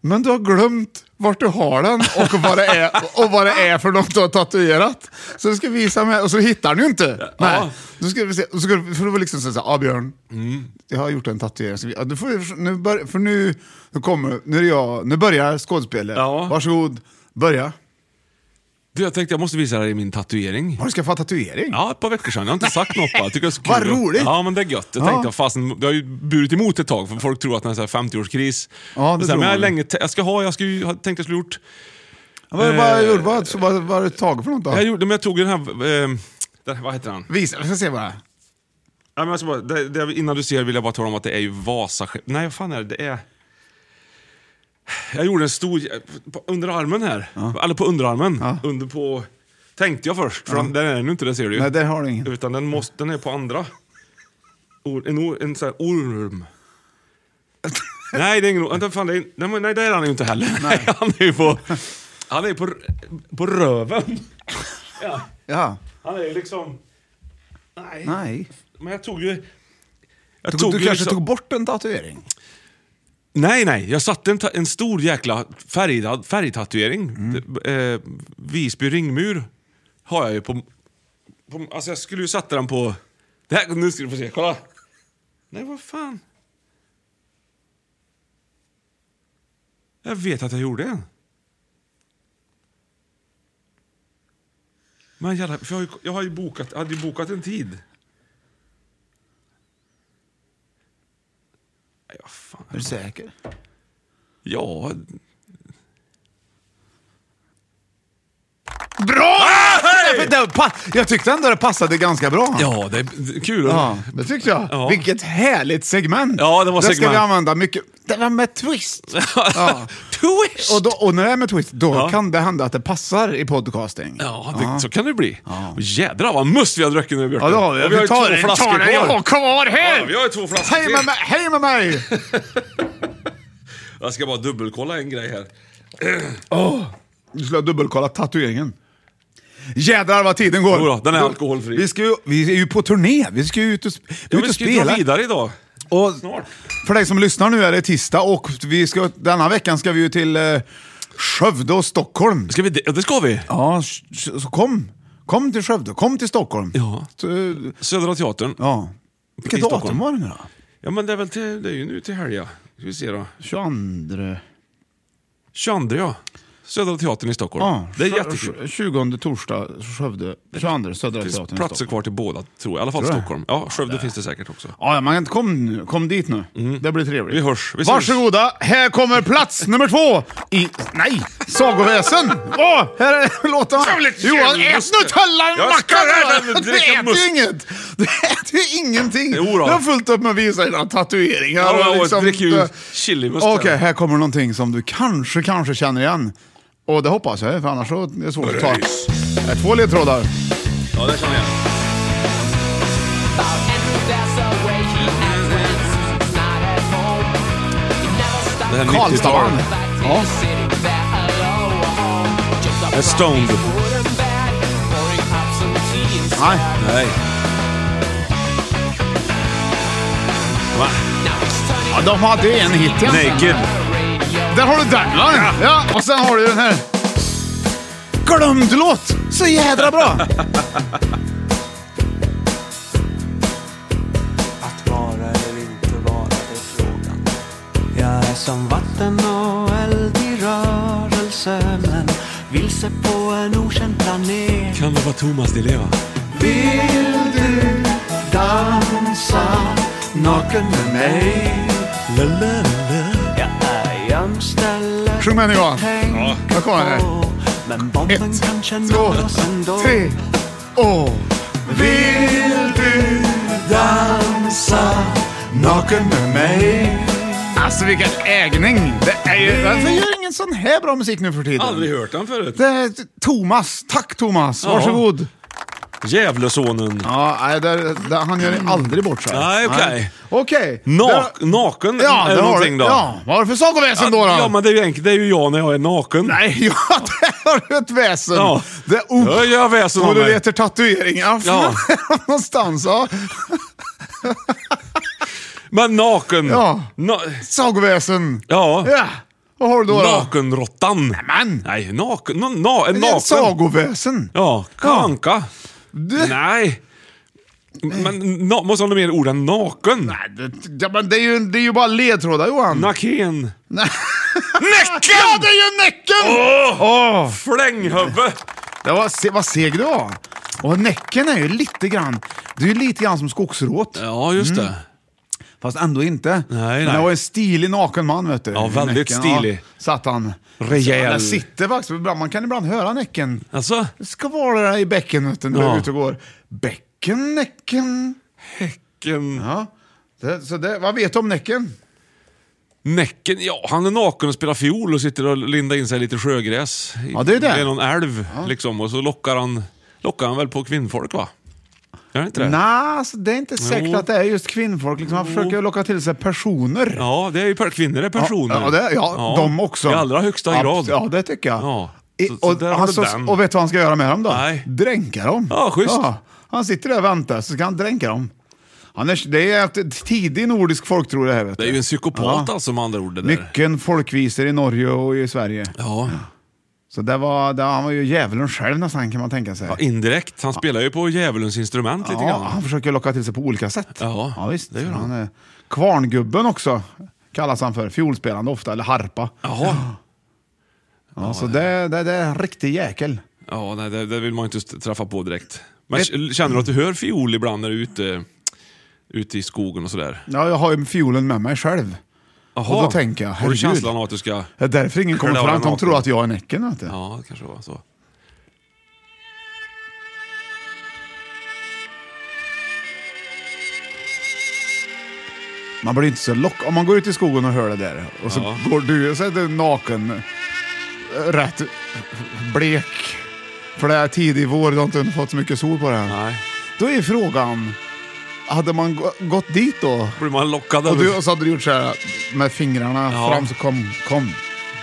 Speaker 3: Men du har glömt vart du har den och vad det är, och vad det är för något du har tatuerat. Så du ska visa mig, och så hittar du ju inte. Nej. Då ska vi se, och så ska du, för du var liksom såhär, ah Björn,
Speaker 2: Mm.
Speaker 3: jag har gjort en tatuering. Så vi, ja, du får, nu bör, för nu, nu kommer, nu är det jag, nu börjar skådespelet.
Speaker 2: Ja.
Speaker 3: Varsågod, börja.
Speaker 2: (laughs) Du, jag tänkte jag måste visa dig min tatuering.
Speaker 3: Har du skaffat tatuering?
Speaker 2: Ja, ett par veckor sedan. Jag har inte sagt något bara. Jag Tycker det är så kul.
Speaker 3: Vad roligt.
Speaker 2: Ja, men det är gött. Jag
Speaker 3: Ja.
Speaker 2: tänkte, fasen, jag har ju burit emot ett tag, för folk tror att det är en sån här 50-årskris.
Speaker 3: Ja, det
Speaker 2: så här,
Speaker 3: tror
Speaker 2: men jag, har
Speaker 3: man.
Speaker 2: länge, jag ska ha, jag ska ju, jag tänkte jag skulle gjort
Speaker 3: Vad
Speaker 2: Eh.
Speaker 3: vad gjorde vad, vad, vad har du tagit för något då?
Speaker 2: Jag gjorde, men jag tog den här, eh, den här vad heter han?
Speaker 3: Visa, vi ska se bara.
Speaker 2: Ja, men alltså bara, det, det, innan du ser vill jag bara tala om att det är ju Vasa... Nej, vad fan är det? det är... Jag gjorde en stor... På underarmen här. Eller på underarmen. Under på... Tänkte jag först, för
Speaker 3: Ja.
Speaker 2: den är nu inte det ser du ju.
Speaker 3: Nej, det har du ingen.
Speaker 2: Utan den, måste, den är på andra. Or, en, or, en sån här
Speaker 3: (laughs)
Speaker 2: orm. nej, det är ingen orm. Vänta, fan, det är, nej, men- nej, det är han ju inte heller. Nej. (laughs) han är ju på... Han är ju på, på röven. ja.
Speaker 3: Ja.
Speaker 2: Han är ju liksom... Nej.
Speaker 3: Nej.
Speaker 2: Men jag tog ju... Jag
Speaker 3: Du, du
Speaker 2: ju
Speaker 3: kanske
Speaker 2: liksom-
Speaker 3: tog bort en tatuering?
Speaker 2: Nej, nej. Jag satte en, ta- en stor jäkla färgad, färgtatuering. Det- Eh, Visby ringmur har jag ju på, på... Alltså jag skulle ju sätta den på... Det här, nu ska du få se, kolla. Nej, vad fan. Jag vet att jag gjorde en. Men jävlar, för jag, har ju, jag, har ju bokat, jag hade ju bokat en tid. Nej, vad fan.
Speaker 3: Är du säker?
Speaker 2: Ja...
Speaker 3: Bra! Därför Ah, det pa- Jag tyckte ändå det passade ganska bra.
Speaker 2: Ja, det är det är kul.
Speaker 3: Ja, det tyckte jag.
Speaker 2: Ja.
Speaker 3: Vilket härligt segment!
Speaker 2: Ja, det var
Speaker 3: ska
Speaker 2: segment.
Speaker 3: vi använda mycket. Det var med
Speaker 2: (laughs)
Speaker 3: twist! Ja.
Speaker 2: twist!
Speaker 3: Och, då, och när det är med twist, då
Speaker 2: Ja.
Speaker 3: kan det hända att det passar i podcasting.
Speaker 2: Ja, det, så kan det bli. Och jädrar vad must vi har druckit nu, Björte.
Speaker 3: Ja, det har vi.
Speaker 2: Och vi har ju
Speaker 3: Vi tar
Speaker 2: två
Speaker 3: en,
Speaker 2: flaskor
Speaker 3: tar en jag har kvar här.
Speaker 2: Ja, vi har ju två flaskor
Speaker 3: Hej med
Speaker 2: till.
Speaker 3: mig! Hej med mig!
Speaker 2: Jag ska bara dubbelkolla en grej här.
Speaker 3: Åh, Nu skulle jag dubbelkolla tatueringen. Jädrar vad tiden går!
Speaker 2: Jo då, den är alkoholfri.
Speaker 3: Vi, ska ju, vi är ju på turné, vi ska ju ut och, sp- vi är ute
Speaker 2: Ja, vi
Speaker 3: och
Speaker 2: ska ju dra
Speaker 3: spela.
Speaker 2: vidare idag.
Speaker 3: Och
Speaker 2: Snart.
Speaker 3: för dig som lyssnar nu är det tisdag och vi ska, denna veckan ska vi ju till eh, Skövde och Stockholm.
Speaker 2: Ska vi, det- ja, det ska vi.
Speaker 3: Ja, s- s- så kom. Kom till Skövde, kom till Stockholm.
Speaker 2: Ja.
Speaker 3: Så,
Speaker 2: Södra Teatern.
Speaker 3: ja. Vilket
Speaker 2: I
Speaker 3: datum
Speaker 2: Stockholm.
Speaker 3: var det nu då?
Speaker 2: Ja, men det är väl till, det är ju nu till helga. Ska vi se då.
Speaker 3: 22...
Speaker 2: 22, ja. Södra Teatern i Stockholm.
Speaker 3: Ja,
Speaker 2: det är
Speaker 3: sjö-
Speaker 2: jättekul.
Speaker 3: sjö- 20 torsdag, Skövde. 22 Södra
Speaker 2: Det finns
Speaker 3: Teatern. i
Speaker 2: platser
Speaker 3: Stockholm.
Speaker 2: kvar till båda, tror jag. I alla fall
Speaker 3: Tror jag.
Speaker 2: Stockholm. Ja, Skövde finns det säkert också.
Speaker 3: Ja, ja, man kom, nu- kom dit nu. Det blir trevligt.
Speaker 2: Mm. Vi hörs. Vi ses.
Speaker 3: Varsågoda, här kommer plats nummer två i... Nej! Sagoväsen! Åh, här är låtarna.
Speaker 8: Trevligt,
Speaker 3: Johan,
Speaker 8: trevligt.
Speaker 3: ät nu tullan
Speaker 8: Jag ska äta, men
Speaker 3: mackan! Du
Speaker 8: dricka
Speaker 3: äter
Speaker 8: must.
Speaker 3: ju inget! Du äter ju ingenting!
Speaker 2: Jo då.
Speaker 3: Du har fullt upp med att visa dina tatueringar.
Speaker 2: Ja,
Speaker 3: och
Speaker 2: och dricker ju
Speaker 3: eh,
Speaker 2: chilimust
Speaker 3: Okej,
Speaker 2: här.
Speaker 3: här kommer någonting som du kanske, kanske känner igen. Och det hoppas jag, för annars så är det svårt att ta.
Speaker 2: Röjs.
Speaker 3: Det är två ledtrådar.
Speaker 2: Ja, det känner jag. Det här 90-talet.
Speaker 3: Karlstad-band. Ja.
Speaker 2: Det är Stoned.
Speaker 3: Nej.
Speaker 2: Nej. Va?
Speaker 3: Ja, de hade ju en hit. ja.
Speaker 2: Naked.
Speaker 3: Där har du den va? Ja. och sen har du den här. Glömd låt! Så jädra bra!
Speaker 9: Att vara eller inte vara är frågan. Jag är som vatten och eld i rörelse men vilse på en okänd planet.
Speaker 2: Kan det vara Thomas Di Leva?
Speaker 9: Vill du dansa naken med mig? La, la, la. Jag är jämställd.
Speaker 3: Sjung med nu Johan.
Speaker 9: Tänk
Speaker 3: Här kommer den.
Speaker 9: Men bomben kanske
Speaker 3: Två,
Speaker 9: når oss ändå.
Speaker 3: tre, åh.
Speaker 9: Vill du dansa
Speaker 3: Naken med mig. Alltså vilken ägning! Det är ju... Varför gör ingen sån här bra musik nu för tiden?
Speaker 2: Aldrig hört den förut.
Speaker 3: Det är Thomas. Tack Thomas.
Speaker 2: Ja.
Speaker 3: Varsågod.
Speaker 2: Djävlesonen.
Speaker 3: Ja, nej, där, där, han gör aldrig bort sig.
Speaker 2: Mm. Nej, okej.
Speaker 3: Okej.
Speaker 2: Nak- naken
Speaker 3: Ja,
Speaker 2: eller
Speaker 3: där har
Speaker 2: någonting
Speaker 3: du.
Speaker 2: då?
Speaker 3: Ja, vad har du för sagoväsen då? då?
Speaker 2: Ja, men det är ju enkelt. Det är ju jag när jag är naken.
Speaker 3: Nej, (laughs) ja, där har du ett väsen.
Speaker 2: Ja.
Speaker 3: Det, oh,
Speaker 2: Jag gör väsen
Speaker 3: och
Speaker 2: av
Speaker 3: du
Speaker 2: mig.
Speaker 3: letar tatueringar
Speaker 2: Ja.
Speaker 3: (laughs) någonstans. Ja.
Speaker 2: Men naken.
Speaker 3: Ja.
Speaker 2: Na-
Speaker 3: Sagoväsen.
Speaker 2: ja.
Speaker 3: Ja. Vad har du då? då?
Speaker 2: Nakenråttan.
Speaker 3: Nämen!
Speaker 2: Nej, naken. Na- na- en
Speaker 3: Det är
Speaker 2: naken.
Speaker 3: ett sagoväsen.
Speaker 2: Ja, kanka.
Speaker 3: Du-
Speaker 2: Nej. Men na- måste ha något mer ord än naken.
Speaker 3: Nej, det, ja, men det, är ju, det är ju bara ledtrådar Johan.
Speaker 2: Naken.
Speaker 3: Näcken! Ja, det är ju näcken!
Speaker 2: Åh!
Speaker 3: Åh!
Speaker 2: Flänghuvud.
Speaker 3: Det var, se, vad seg du var. Och näcken är ju lite grann, det är ju lite grann som skogsråt.
Speaker 2: Ja, just det.
Speaker 3: Fast ändå inte.
Speaker 2: nej.
Speaker 3: Men det var en stilig naken man vet du.
Speaker 2: Ja, väldigt
Speaker 3: Näcken,
Speaker 2: stilig.
Speaker 3: Ja, satt han.
Speaker 2: Rejäl.
Speaker 3: Så Där sitter faktiskt, ibland- man kan ibland höra näcken.
Speaker 2: Alltså?
Speaker 3: Det ska vara där i bäcken vet du, när du
Speaker 2: Ja.
Speaker 3: är ute och går. Bäcken, näcken.
Speaker 2: Näcken.
Speaker 3: Ja. Det, så det, vad vet du om Näcken?
Speaker 2: Näcken, ja han är naken och spelar fiol och sitter och lindar in sig i lite sjögräs. i-
Speaker 3: Ja, det är det.
Speaker 2: Vid någon älv liksom. Och så lockar han, lockar han väl på kvinnfolk va? Är det inte det?
Speaker 3: Nej, alltså, det är inte
Speaker 2: Jo.
Speaker 3: säkert att det är just kvinnfolk. Liksom, han försöker locka till sig personer.
Speaker 2: Ja, det är ju per, kvinnor är personer.
Speaker 3: Ja, ja, det, ja, de också.
Speaker 2: I allra högsta
Speaker 3: Abs-
Speaker 2: grad.
Speaker 3: Ja, det tycker jag.
Speaker 2: Ja.
Speaker 3: I,
Speaker 2: Så- så
Speaker 3: och,
Speaker 2: där har
Speaker 3: han
Speaker 2: du
Speaker 3: så,
Speaker 2: den.
Speaker 3: och vet du vad han ska göra med dem då?
Speaker 2: Nej.
Speaker 3: Dränka dem.
Speaker 2: Ja, schysst.
Speaker 3: han sitter där och väntar, så ska han dränka dem. Han är, det är ett tidig nordisk folktro det här. Vet
Speaker 2: Det
Speaker 3: du.
Speaker 2: är ju en psykopat
Speaker 3: Ja.
Speaker 2: alltså med andra ord det där.
Speaker 3: Mycken folkvisor i Norge och i Sverige.
Speaker 2: Ja.
Speaker 3: Så det var, det, han var ju djävulen själv nästan kan man tänka sig.
Speaker 2: ja, indirekt. Han spelar ju på djävulens instrument lite
Speaker 3: Ja,
Speaker 2: grann.
Speaker 3: han försöker locka till sig på olika sätt.
Speaker 2: Ja,
Speaker 3: Ja, visst.
Speaker 2: det gör
Speaker 3: han
Speaker 2: han.
Speaker 3: är kvarngubben också, kallas han för. Fiolspelande ofta, eller harpa.
Speaker 2: Jaha.
Speaker 3: Ja, så det, det, det är en riktig jäkel.
Speaker 2: Ja, nej, det, det vill man ju inte st- träffa på direkt. Men k- känner du att du hör fiol ibland när du är ute, ute i skogen och sådär?
Speaker 3: Ja, jag har ju fiolen med mig själv.
Speaker 2: Jaha.
Speaker 3: Och då tänker jag,
Speaker 2: Har du
Speaker 3: herregud.
Speaker 2: känslan av att du ska...
Speaker 3: Det är därför ingen kommer
Speaker 2: Klöra
Speaker 3: fram. De
Speaker 2: naken.
Speaker 3: tror att jag är Näcken. Vet du.
Speaker 2: Ja, det kanske var så.
Speaker 3: Man blir inte så lock... Om man går ut i skogen och hör det där och så
Speaker 2: Ja.
Speaker 3: går du så är du naken, eh, rätt blek. För det är tidig vår, du har inte fått så mycket sol på det här.
Speaker 2: Nej.
Speaker 3: Då är frågan, hade man gå- gått dit då?
Speaker 2: Blir man lockad?
Speaker 3: Och,
Speaker 2: av-
Speaker 3: du, och så hade du gjort så här med fingrarna
Speaker 2: Ja.
Speaker 3: fram så kom, kom,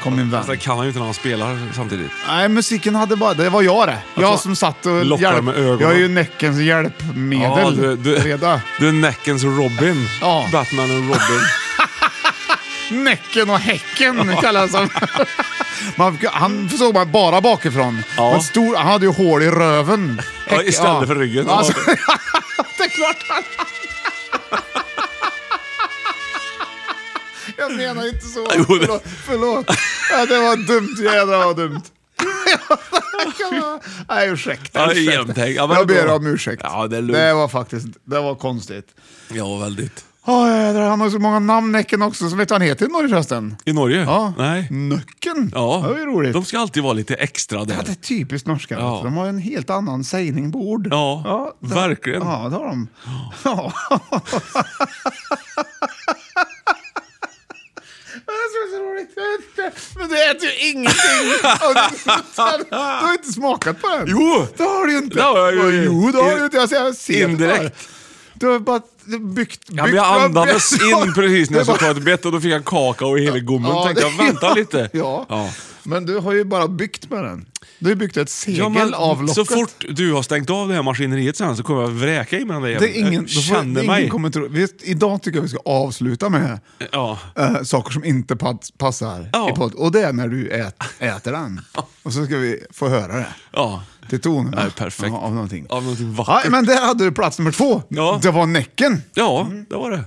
Speaker 3: kom min vän.
Speaker 2: Fast det kan han ju inte när han spelar samtidigt.
Speaker 3: Nej, musiken hade bara... Det var jag det. Jag
Speaker 2: Alltså,
Speaker 3: som satt och
Speaker 2: lockar med ögonen.
Speaker 3: Jag är ju Näckens hjälpmedel.
Speaker 2: Ja, du, du,
Speaker 3: Reda.
Speaker 2: du är Näckens Robin.
Speaker 3: Ja.
Speaker 2: Batman och Robin.
Speaker 3: Näcken och Häcken kallas han. (laughs) Man, han såg man bara bakifrån.
Speaker 2: Ja.
Speaker 3: Men stor, han hade ju hål i röven.
Speaker 2: Ja,
Speaker 3: Häck-
Speaker 2: istället
Speaker 3: ja.
Speaker 2: för ryggen.
Speaker 3: Alltså,
Speaker 2: Ja.
Speaker 3: (laughs) det är klart han (laughs) Jag menar inte så.
Speaker 2: Jo, det-
Speaker 3: Förlåt. förlåt. Ja, det var dumt. Jädrar vad
Speaker 2: (laughs)
Speaker 3: dumt. Nej, ursäkta.
Speaker 2: Ja,
Speaker 3: ursäkta.
Speaker 2: jämnt häng. Ja, men
Speaker 3: jag
Speaker 2: det är
Speaker 3: ber
Speaker 2: bra.
Speaker 3: om ursäkt.
Speaker 2: Ja, det är lugnt.
Speaker 3: det var faktiskt det var konstigt.
Speaker 2: Ja, väldigt.
Speaker 3: Åh, jädrar, han har ju så många namn, Näcken, också. Så vet du vad han heter i Norge förresten?
Speaker 2: I Norge?
Speaker 3: Ja.
Speaker 2: Nej.
Speaker 3: Nöcken.
Speaker 2: Ja.
Speaker 3: Det var ju roligt.
Speaker 2: De ska alltid vara lite extra
Speaker 3: Ja,
Speaker 2: där.
Speaker 3: det är typiskt norska.
Speaker 2: Ja.
Speaker 3: alltså. De har en helt annan sägning på ord.
Speaker 2: Ja,
Speaker 3: det-
Speaker 2: verkligen.
Speaker 3: Ja, det har de. Ja. (laughs) Det är så roligt. Jag vet inte. Men det äter ju ingenting. Och det- Du har inte smakat på den.
Speaker 2: Jo!
Speaker 3: Det har du ju inte.
Speaker 2: Det har jag ju.
Speaker 3: Jo, det har du inte. Jag ser, jag ser det
Speaker 2: Indirekt.
Speaker 3: bara. Du har bara byggt...
Speaker 2: Ja, men
Speaker 3: byggt-
Speaker 2: jag andades
Speaker 3: (laughs) Ja,
Speaker 2: in precis när jag
Speaker 3: det är
Speaker 2: skulle ta ett bett och då fick jag kakao i hela
Speaker 3: (laughs)
Speaker 2: gommen.
Speaker 3: Ja,
Speaker 2: tänkte
Speaker 3: det-
Speaker 2: jag, vänta lite.
Speaker 3: Ja.
Speaker 2: Ja.
Speaker 3: Men du har ju bara byggt med den. Du har ju byggt ett segel
Speaker 2: Ja, men
Speaker 3: av locket.
Speaker 2: så fort du har stängt av det här maskineriet sen så kommer jag vräka i mig den där
Speaker 3: Det
Speaker 2: jäveln.
Speaker 3: är ingen,
Speaker 2: Jag
Speaker 3: då får-
Speaker 2: känner
Speaker 3: det är
Speaker 2: mig.
Speaker 3: Ingen kommer tro, visst, idag tycker jag vi ska avsluta med
Speaker 2: Ja.
Speaker 3: eh, saker som inte pat, passar
Speaker 2: Ja.
Speaker 3: i podd. Och det är när du ät, äter
Speaker 2: (laughs)
Speaker 3: den. Och så ska vi få höra det.
Speaker 2: Ja.
Speaker 3: Till tonen.
Speaker 2: Ja, perfekt.
Speaker 3: Ja, av någonting.
Speaker 2: Av någonting
Speaker 3: Ja,
Speaker 2: vackert.
Speaker 3: men där hade du plats nummer två.
Speaker 2: Ja.
Speaker 3: Det var Näcken.
Speaker 2: Ja, det var det.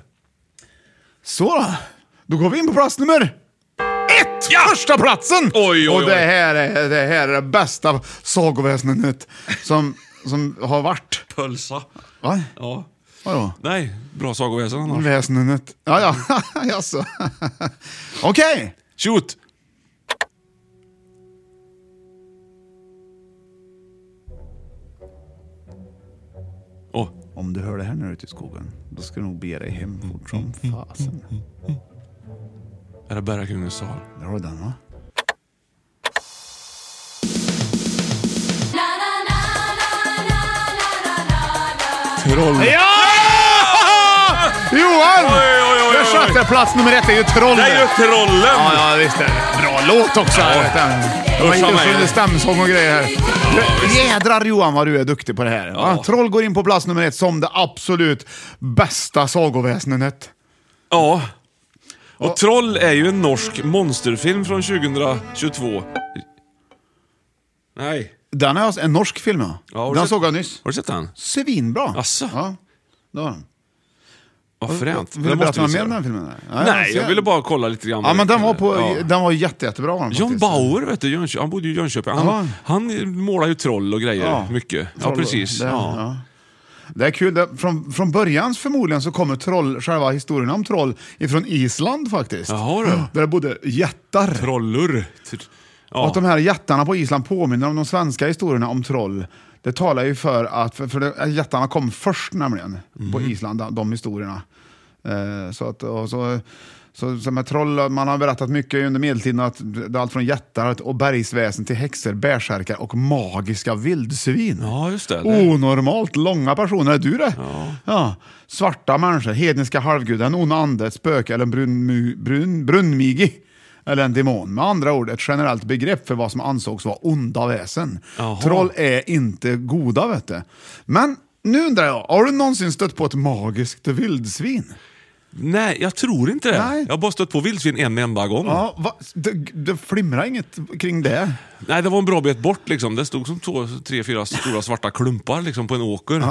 Speaker 3: Så då. Då går vi in på plats nummer ett! Första platsen!
Speaker 2: Oj, oj,
Speaker 3: Och det
Speaker 2: oj.
Speaker 3: här är det, här är det bästa sagoväsendet som, som har varit.
Speaker 2: Pölsa.
Speaker 3: Va?
Speaker 2: Ja.
Speaker 3: Vadå?
Speaker 2: Nej, bra sagoväsen annars.
Speaker 3: Väsendet. Ja, ja. (laughs) Jaså. Okej.
Speaker 2: Shoot! Åh,
Speaker 3: Om du hör det här när du är ute i skogen, då ska du nog bege dig hem fort
Speaker 2: (laughs)
Speaker 3: som fasen.
Speaker 2: är det Bergakungens sal?
Speaker 3: Där har du den va?
Speaker 2: Troll.
Speaker 3: Ja! Johan!
Speaker 2: Oj, oj, oj, oj,
Speaker 3: Där satt jag plats nummer ett, det är ju trollen.
Speaker 2: Det är ju trollen!
Speaker 3: Ja, ja visst är det. Bra låt också.
Speaker 2: Ja.
Speaker 3: Ja. Vet du.
Speaker 2: Usch,
Speaker 3: Man
Speaker 2: vad
Speaker 3: gick
Speaker 2: är
Speaker 3: ju
Speaker 2: det?
Speaker 3: så stämsång och grejer här. Jädrar Johan vad du är duktig på det här. va?
Speaker 2: Ja.
Speaker 3: Troll går in på plats nummer ett som det absolut bästa sagoväsendet.
Speaker 2: Ja. Och Troll är ju en norsk monsterfilm från 2022. Nej.
Speaker 3: Den är alltså en norsk film ja.
Speaker 2: Ja, har du
Speaker 3: den
Speaker 2: sett-
Speaker 3: såg jag nyss.
Speaker 2: Har du sett den?
Speaker 3: Svinbra.
Speaker 2: Asså?
Speaker 3: Ja, det har den.
Speaker 2: Vad fränt.
Speaker 3: Vill
Speaker 2: Den
Speaker 3: du
Speaker 2: måste
Speaker 3: berätta
Speaker 2: vi
Speaker 3: något
Speaker 2: se
Speaker 3: mer om
Speaker 2: då.
Speaker 3: den filmen? eller?
Speaker 2: Nej, jag
Speaker 3: ser-
Speaker 2: ville bara kolla lite grann.
Speaker 3: Ja, men den var, på,
Speaker 2: Ja.
Speaker 3: den var ju jätte, jättebra. var Den
Speaker 2: John
Speaker 3: faktiskt.
Speaker 2: Bauer, vet du, Jönköp- han bodde ju i Jönköping. Han,
Speaker 3: Ja.
Speaker 2: han målar ju troll och grejer
Speaker 3: Ja.
Speaker 2: mycket. Ja,
Speaker 3: Troll-
Speaker 2: precis.
Speaker 3: Det,
Speaker 2: ja.
Speaker 3: ja. det är kul. Det, från, från början förmodligen så kommer troll, själva historien om troll ifrån Island faktiskt.
Speaker 2: Jaha, du.
Speaker 3: Där det bodde jättar.
Speaker 2: Trollur. Tr-
Speaker 3: Och att
Speaker 2: Ja.
Speaker 3: de här jättarna på Island påminner om de svenska historierna om troll. Det talar ju för att, för, för det, jättarna kom först nämligen på
Speaker 2: Mhm.
Speaker 3: Island, de, de historierna. Eh, så att, och så, så, så med troll, man har berättat mycket under medeltiden, att det är allt från jättar och bergsväsen till häxor, bärsärkar och magiska vildsvin.
Speaker 2: Ja, just det.
Speaker 3: Oh. Onormalt långa personer, är du det? Ja. Svarta människor, hedniska halvgudar, en ond ande, ett spöke eller en brunmu- brun, brunnmigi. Eller en demon. Med andra ord ett generellt begrepp för vad som ansågs vara onda väsen.
Speaker 2: Jaha.
Speaker 3: Troll är inte goda vet du. Men nu undrar jag, har du någonsin stött på ett magiskt vildsvin?
Speaker 2: Nej, jag tror inte det.
Speaker 3: Nej.
Speaker 2: Jag har bara stött på vildsvin en enda gång.
Speaker 3: Ja, va? Det, det flimrar inget kring det.
Speaker 2: Nej, det var en bra bit bort liksom. Det stod som två, tre, fyra stora svarta klumpar liksom, på en åker.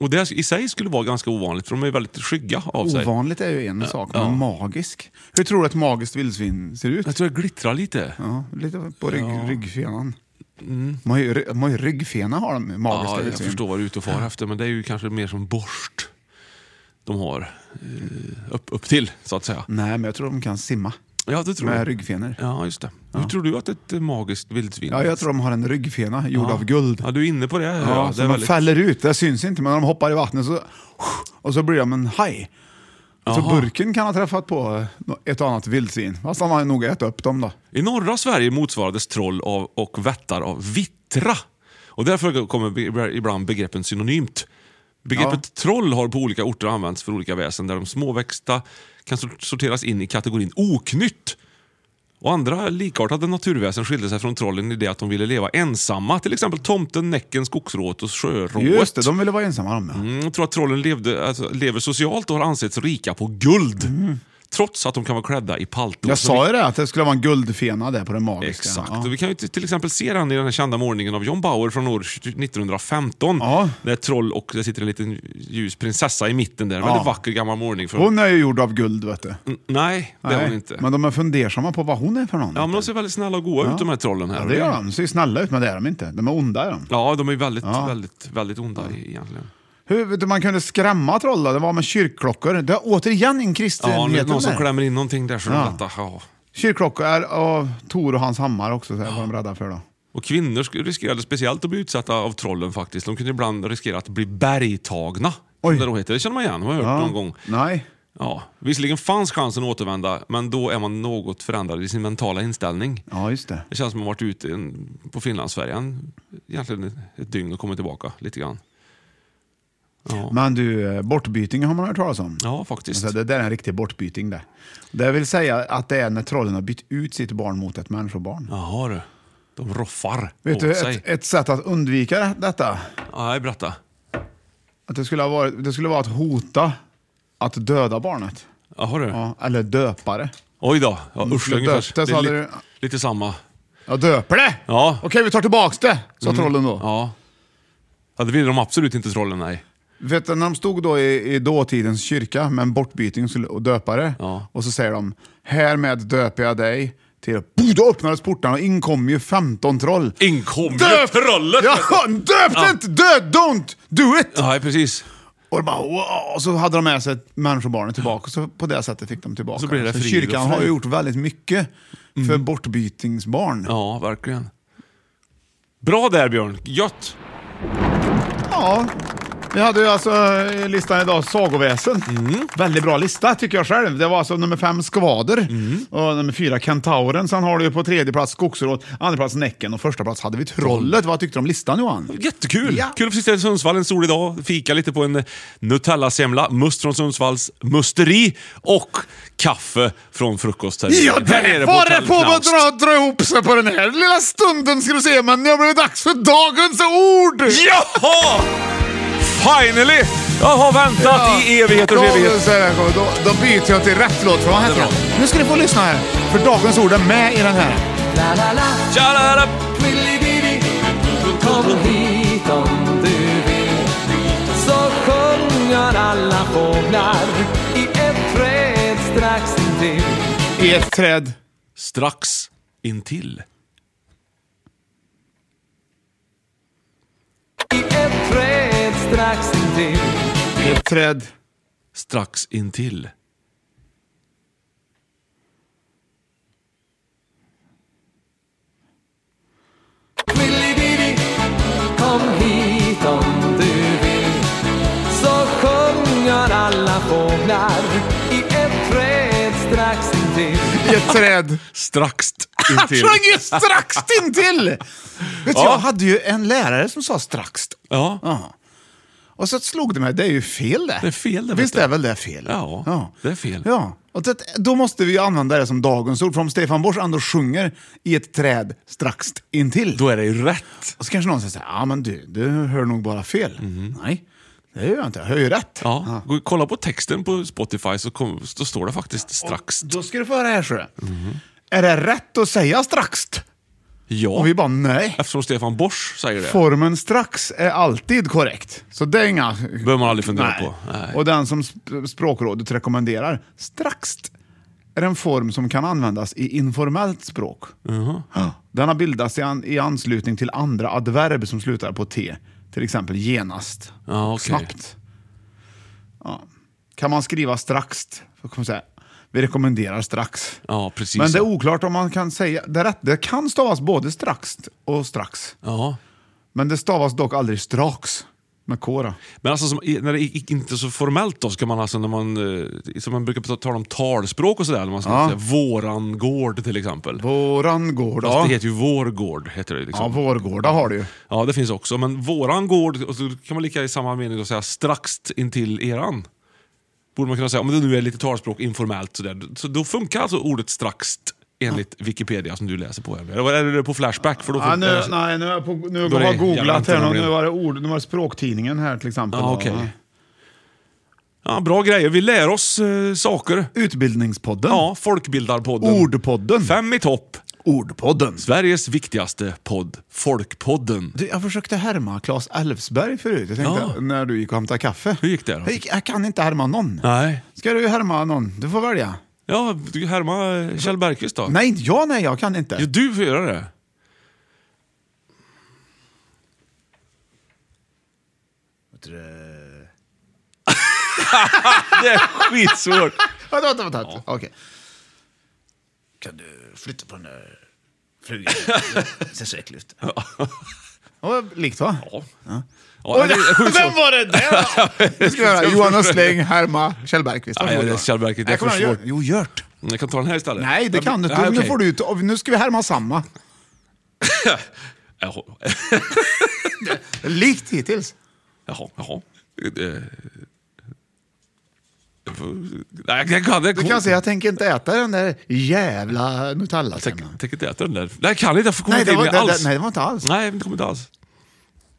Speaker 2: Och det i sig skulle vara ganska ovanligt, för de är väldigt skygga av sig.
Speaker 3: Ovanligt är ju en sak, men
Speaker 2: ja.
Speaker 3: magisk. Hur tror du ett magiskt vildsvin ser ut?
Speaker 2: Jag tror det glittrar lite.
Speaker 3: Ja, lite på rygg,
Speaker 2: Ja. Mm.
Speaker 3: ryggfenan. De har ju, ry- de har ju ryggfena har de ju, magiska
Speaker 2: Ja, jag
Speaker 3: vildsvin.
Speaker 2: förstår vad du är ute och far efter, men det är ju kanske mer som borst de har eh, upp, upp till så att säga.
Speaker 3: Nej, men jag tror de kan simma
Speaker 2: Ja, det tror
Speaker 3: Mm. med
Speaker 2: jag.
Speaker 3: ryggfenor.
Speaker 2: Ja, just det. Hur tror du att ett eh, magiskt vildsvin...
Speaker 3: Ja, jag tror de har en ryggfena gjord
Speaker 2: Ja.
Speaker 3: av guld.
Speaker 2: Ja, du är inne på det. hör
Speaker 3: Ja,
Speaker 2: jag. det
Speaker 3: så
Speaker 2: är
Speaker 3: de
Speaker 2: väldigt...
Speaker 3: fäller ut, det syns inte, men när de hoppar i vattnet så, och så blir de en haj. Så
Speaker 2: Jaha.
Speaker 3: burken kan ha träffat på ett och annat vildsvin. Fast han har ju nog ätit upp dem då.
Speaker 2: I norra Sverige motsvarades troll av, och vättar av vittra. Och därför kommer be- ibland begreppen synonymt. Begreppet troll har på olika orter använts för olika väsen där de småväxta kan sor- sorteras in i kategorin oknytt. Och andra likartade naturväsen skilde sig från trollen i det att de ville leva ensamma. Till exempel tomten, näcken, skogsrået och sjörået.
Speaker 3: Just det, de ville vara ensamma de. ja.
Speaker 2: Mm, jag tror att trollen levde, alltså, lever socialt och har ansetts rika på guld. Trots att de kan vara klädda i palto.
Speaker 3: Mm. Jag
Speaker 2: som vi-
Speaker 3: sa ju det, att det skulle vara en guldfena där på den magiska.
Speaker 2: Exakt.
Speaker 3: Ja.
Speaker 2: Och vi kan ju till till exempel se den i den här kända målningen av John Bauer från år 1915. Där ett troll och det sitter en liten ljus prinsessa i mitten där. Väldigt vacker gammal målning. Från...
Speaker 3: Hon är ju gjord av guld vet du.
Speaker 2: N- Nej, det är
Speaker 3: Nej,
Speaker 2: hon inte.
Speaker 3: Men de är fundersamma på vad hon är för någon.
Speaker 2: Ja, men de ser väldigt snälla och goa
Speaker 3: Ja.
Speaker 2: ut de här trollen här.
Speaker 3: Ja, det gör de. De ser ju snälla ut, men det är de inte. De är onda är de.
Speaker 2: Ja, de är väldigt,
Speaker 3: Ja.
Speaker 2: väldigt, väldigt onda i- egentligen.
Speaker 3: Hur vet du, man kunde skrämma troll då? Det var med kyrkklockor. Det är återigen en
Speaker 2: Ja, nu är
Speaker 3: kristenhet.
Speaker 2: det någon som
Speaker 3: där.
Speaker 2: klämmer in någonting där så
Speaker 3: Ja.
Speaker 2: de lättar. Ja.
Speaker 3: Kyrkklockor är av Tor och hans hammar också, så här, var de rädda för då.
Speaker 2: Och kvinnor sk- riskerade speciellt att bli utsatta av trollen faktiskt. De kunde ibland riskera att bli bergtagna. Som det då heter. Det känner man igen, har jag hört
Speaker 3: Ja.
Speaker 2: någon gång.
Speaker 3: Nej.
Speaker 2: Ja, visserligen fanns chansen att återvända, men då är man något förändrad i sin mentala inställning.
Speaker 3: Ja, just det.
Speaker 2: Det känns som att man varit ute en- på Finlandsfärjan egentligen ett dygn och kommit tillbaka lite grann. Ja,
Speaker 3: Men du, eh, bortbyting har man hört talas om.
Speaker 2: ja faktiskt.
Speaker 3: Alltså, det där är en riktig bortbyting det. Det vill säga att det är när trollen har bytt ut sitt barn mot ett människobarn.
Speaker 2: Jaha du, de roffar
Speaker 3: Vet
Speaker 2: åt
Speaker 3: du,
Speaker 2: sig.
Speaker 3: ett, ett sätt att undvika det- detta,
Speaker 2: Nej, berätta.
Speaker 3: att det, skulle ha varit, det skulle vara att hota att döda barnet.
Speaker 2: Jaha du.
Speaker 3: Ja, Mm, eller döpare.
Speaker 2: Oj då, ja, usch
Speaker 3: skulle
Speaker 2: ungefär.
Speaker 3: döpt det, så
Speaker 2: är
Speaker 3: hade
Speaker 2: li-
Speaker 3: du-
Speaker 2: Lite samma.
Speaker 3: Jag döper det!
Speaker 2: Ja.
Speaker 3: Okej, vi tar tillbaks det, sa
Speaker 2: Mm.
Speaker 3: trollen då.
Speaker 2: Ja. ja, det ville de absolut inte trollen, nej.
Speaker 3: Vet du, när de stod då i, i dåtidens kyrka med en bortbyting skulle- och döpare
Speaker 2: Ja.
Speaker 3: och så säger de härmed döper jag dig till... Puh, Då öppnades portarna och inkom ju 15 troll.
Speaker 2: In kom ju
Speaker 3: Döp!
Speaker 2: trollet!
Speaker 3: Ja, (laughs) döpt
Speaker 2: Ja.
Speaker 3: inte! Död! Don't do it!
Speaker 2: Nej, precis.
Speaker 3: Och, de bara, wow. och så hade de med sig ett människobarn tillbaka och så på det sättet fick de tillbaka
Speaker 2: Så blir det
Speaker 3: så
Speaker 2: frid och
Speaker 3: Kyrkan
Speaker 2: fröjd. Mm.
Speaker 3: har ju gjort väldigt mycket för bortbytingsbarn. Ja.
Speaker 2: Ja, verkligen. Bra där Björn, gött!
Speaker 3: Vi hade ju alltså i listan idag sagoväsen. Väldigt bra lista tycker jag själv. Det var alltså nummer fem skvader och nummer fyra kentauren. Sen har du ju på tredje plats skogsråd, andra plats näcken och första plats hade vi trollet. Vad tyckte du om listan Johan?
Speaker 2: Jättekul!
Speaker 3: Ja.
Speaker 2: Kul att få sitta i Sundsvall en solig dag, fika lite på en eh, Nutella-semla, must från Sundsvalls musteri och kaffe från frukostterminalen.
Speaker 3: Ja,
Speaker 2: Här nere
Speaker 3: där var det
Speaker 2: Hotell
Speaker 3: på att
Speaker 2: Knaust.
Speaker 3: dra, dra ihop sig på den här lilla stunden ska du se, men nu har det blivit dags för dagens ord!
Speaker 2: Jaha! Finally! Jag har väntat i evigheters
Speaker 3: Då,
Speaker 2: evighet.
Speaker 3: då, då byter jag till rätt låt, för vad heter
Speaker 2: Det är
Speaker 3: den? Nu ska ni få lyssna här, för dagens ord är med i den här.
Speaker 9: La, la, la,
Speaker 2: Tjalala!
Speaker 9: kom hit om du vill. Så sjunger alla fåglar i ett träd strax intill.
Speaker 3: I ett träd.
Speaker 2: Strax intill.
Speaker 9: I ett träd strax intill.
Speaker 3: I ett träd.
Speaker 2: Strax intill.
Speaker 9: Billy, Billy, kom hit många fåglar i ett träd strax intill.
Speaker 3: I ett träd.
Speaker 2: Strax
Speaker 3: Han (laughs)
Speaker 2: intill.
Speaker 3: sjöng ju strax intill! Vet du,
Speaker 2: Ja.
Speaker 3: Jag hade ju en lärare som sa strax.
Speaker 2: Ja.
Speaker 3: Och så slog det mig, det är ju fel det.
Speaker 2: Det är fel det, vet
Speaker 3: Visst
Speaker 2: du.
Speaker 3: är väl det fel?
Speaker 2: Ja, det är fel.
Speaker 3: Ja. Och det, då måste vi ju använda det som dagens ord, för om Stefan Borsch ändå sjunger i ett träd strax intill.
Speaker 2: Då är det ju rätt.
Speaker 3: Och så kanske någon säger så här, ja men du, du hör nog bara fel. Nej, det gör jag inte. Jag hör ju rätt.
Speaker 2: Mhm. Ja. Gå och kolla på texten på Spotify så, kom, så står det faktiskt strax.
Speaker 3: Då ska du få höra här så.
Speaker 2: Mhm.
Speaker 3: Är det rätt att säga strax?
Speaker 2: Ja,
Speaker 3: Och vi bara, nej.
Speaker 2: eftersom Stefan Borsch säger det.
Speaker 3: Formen strax är alltid korrekt. Så det är inga...
Speaker 2: behöver man aldrig fundera
Speaker 3: Nej.
Speaker 2: på. Nej.
Speaker 3: Och den som sp- språkrådet rekommenderar, strax, är en form som kan användas i informellt språk. Ja. Den har bildats i, an, i anslutning till andra adverb som slutar på t. Till exempel genast,
Speaker 2: Ja, okej.
Speaker 3: snabbt. Ja. Kan man skriva strax, så kan man säga, vi rekommenderar strax.
Speaker 2: Ja, precis.
Speaker 3: Men det är
Speaker 2: så.
Speaker 3: oklart om man kan säga det är rätt. Det kan stavas både strax och strax.
Speaker 2: ja.
Speaker 3: Men det stavas dock aldrig strax med K. då.
Speaker 2: Men alltså, som, i- när det gick inte så formellt då, ska man alltså när man, eh, som man brukar ta- tala om talspråk och sådär, när man ska
Speaker 3: Ja.
Speaker 2: säga våran gård till exempel.
Speaker 3: Våran gård. alltså,
Speaker 2: Fast
Speaker 3: Ja,
Speaker 2: det heter ju vår gård. Heter det,
Speaker 3: ja
Speaker 2: liksom.
Speaker 3: vårgårda har du ju.
Speaker 2: ja, det finns också. Men våran gård, och så kan man lika i samma mening då säga strax intill eran. Borde man kunna säga, om det nu är lite talspråk informellt sådär. Så då funkar alltså ordet strax enligt Wikipedia som du läser på. här. Eller vad är det på Flashback? För då
Speaker 3: Ja,
Speaker 2: funkar
Speaker 3: nu,
Speaker 2: det.
Speaker 3: nej, nu, är jag på, nu
Speaker 2: Då
Speaker 3: har
Speaker 2: är
Speaker 3: jag
Speaker 2: det jävla
Speaker 3: googlat
Speaker 2: inte
Speaker 3: här.
Speaker 2: någon
Speaker 3: Nu, nu,
Speaker 2: red-
Speaker 3: var det ord, nu var det språktidningen här till exempel.
Speaker 2: Ja, okej. Ja, bra grejer. Vi lär oss eh, saker.
Speaker 3: Utbildningspodden.
Speaker 2: Ja, Folkbildarpodden.
Speaker 3: Ordpodden.
Speaker 2: Fem i topp.
Speaker 3: Ordpodden.
Speaker 2: Sveriges viktigaste podd, Folkpodden.
Speaker 3: Du, jag försökte härma Claes Elfsberg förut. Jag tänkte
Speaker 2: Ja.
Speaker 3: när du gick och hämtade kaffe.
Speaker 2: Hur gick det då?
Speaker 3: Jag, gick, jag kan inte härma någon.
Speaker 2: Nej.
Speaker 3: Ska du härma någon? Du får välja.
Speaker 2: Ja, du härma eh, Kjell Bergqvist då.
Speaker 3: Nej, inte jag. Nej, jag kan inte.
Speaker 2: Ja, du får göra det. (laughs) Det är skitsvårt.
Speaker 3: Vänta, vänta, vänta. vänta. Okej. Kan du flytta på den där frugan? Det ser så äckligt ut. Ja, Likt va?
Speaker 2: Ja.
Speaker 3: Oj,
Speaker 2: Ja, det är sjukt
Speaker 3: vem
Speaker 2: svårt.
Speaker 3: var det där? Nu ska vi höra. Johan Östling, Härma, Kjell Bergqvist. Varsågod,
Speaker 2: Nej, det är
Speaker 3: Johan.
Speaker 2: Kjell Bergqvist. Det
Speaker 3: Nej,
Speaker 2: är
Speaker 3: kom
Speaker 2: för
Speaker 3: igen,
Speaker 2: svårt.
Speaker 3: Jo, Gört.
Speaker 2: Jag kan ta den här istället.
Speaker 3: Nej, det kan du inte.
Speaker 2: Nej,
Speaker 3: Nu,
Speaker 2: okej.
Speaker 3: får du, ut- nu ska vi härma samma.
Speaker 2: Jaha,
Speaker 3: Likt hittills.
Speaker 2: jaha. jaha. Eh, jag får- Nej, jag kan det.
Speaker 3: Du kan säga, jag tänker inte äta den där jävla Nutella sen.
Speaker 2: Jag tänker inte äta den där. Nej, jag kan inte. Jag får- kommer
Speaker 3: Nej,
Speaker 2: inte
Speaker 3: det
Speaker 2: in
Speaker 3: var,
Speaker 2: i
Speaker 3: det, det,
Speaker 2: alls.
Speaker 3: nej, det var inte alls.
Speaker 2: Nej, det kommer inte alls.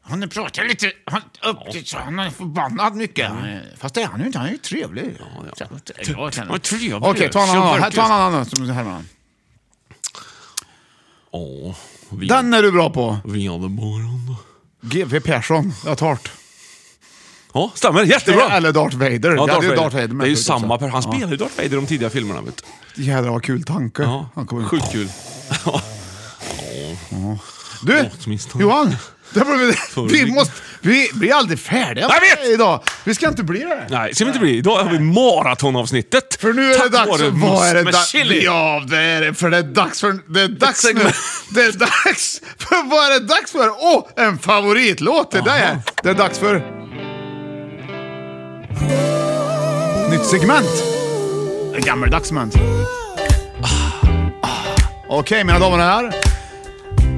Speaker 3: Han pratar lite han, upp till så han är förbannad mycket. Fast det är han ju inte, han är ju trevlig.
Speaker 2: ja.
Speaker 3: Så- jag kan-
Speaker 2: Vad trevlig.
Speaker 3: Okej, ta en annan. Här, Ta en annan som Herman.
Speaker 2: Åh, vi,
Speaker 3: Den är du bra på.
Speaker 2: vi hade morgon.
Speaker 3: GV Persson. Jag tar det.
Speaker 2: Ja, stämmer. Jättebra!
Speaker 3: Eller Darth Vader.
Speaker 2: Ja,
Speaker 3: Jag hade ju
Speaker 2: Vader.
Speaker 3: Darth Vader med
Speaker 2: det är ju
Speaker 3: förut
Speaker 2: samma
Speaker 3: också.
Speaker 2: person. Han
Speaker 3: Ja.
Speaker 2: spelar ju Darth Vader i de tidiga filmerna. Vet du.
Speaker 3: Jädrar vad kul tanke.
Speaker 2: Ja,
Speaker 3: Han kommer
Speaker 2: Sjukt kul.
Speaker 3: Du,
Speaker 2: Åtminstone.
Speaker 3: Johan. Där var vi, vi,
Speaker 2: Förrygg.
Speaker 3: måste, vi blir aldrig färdiga
Speaker 2: Jag vet!
Speaker 3: idag. Vi ska inte bli det.
Speaker 2: Nej, ska vi inte bli. Idag har vi maratonavsnittet.
Speaker 3: För nu är
Speaker 2: Tack
Speaker 3: det dags.
Speaker 2: vare
Speaker 3: vad
Speaker 2: must
Speaker 3: är det
Speaker 2: med
Speaker 3: dags?
Speaker 2: chili.
Speaker 3: Ja, det är det. För det är dags för... Det är dags nu.
Speaker 2: segment.
Speaker 3: Det är dags. För vad är det dags för? Åh, oh, en favoritlåt till dig. Det är dags för... Nytt segment. En gammaldags segment. Ah. Okej, mina damer och herrar.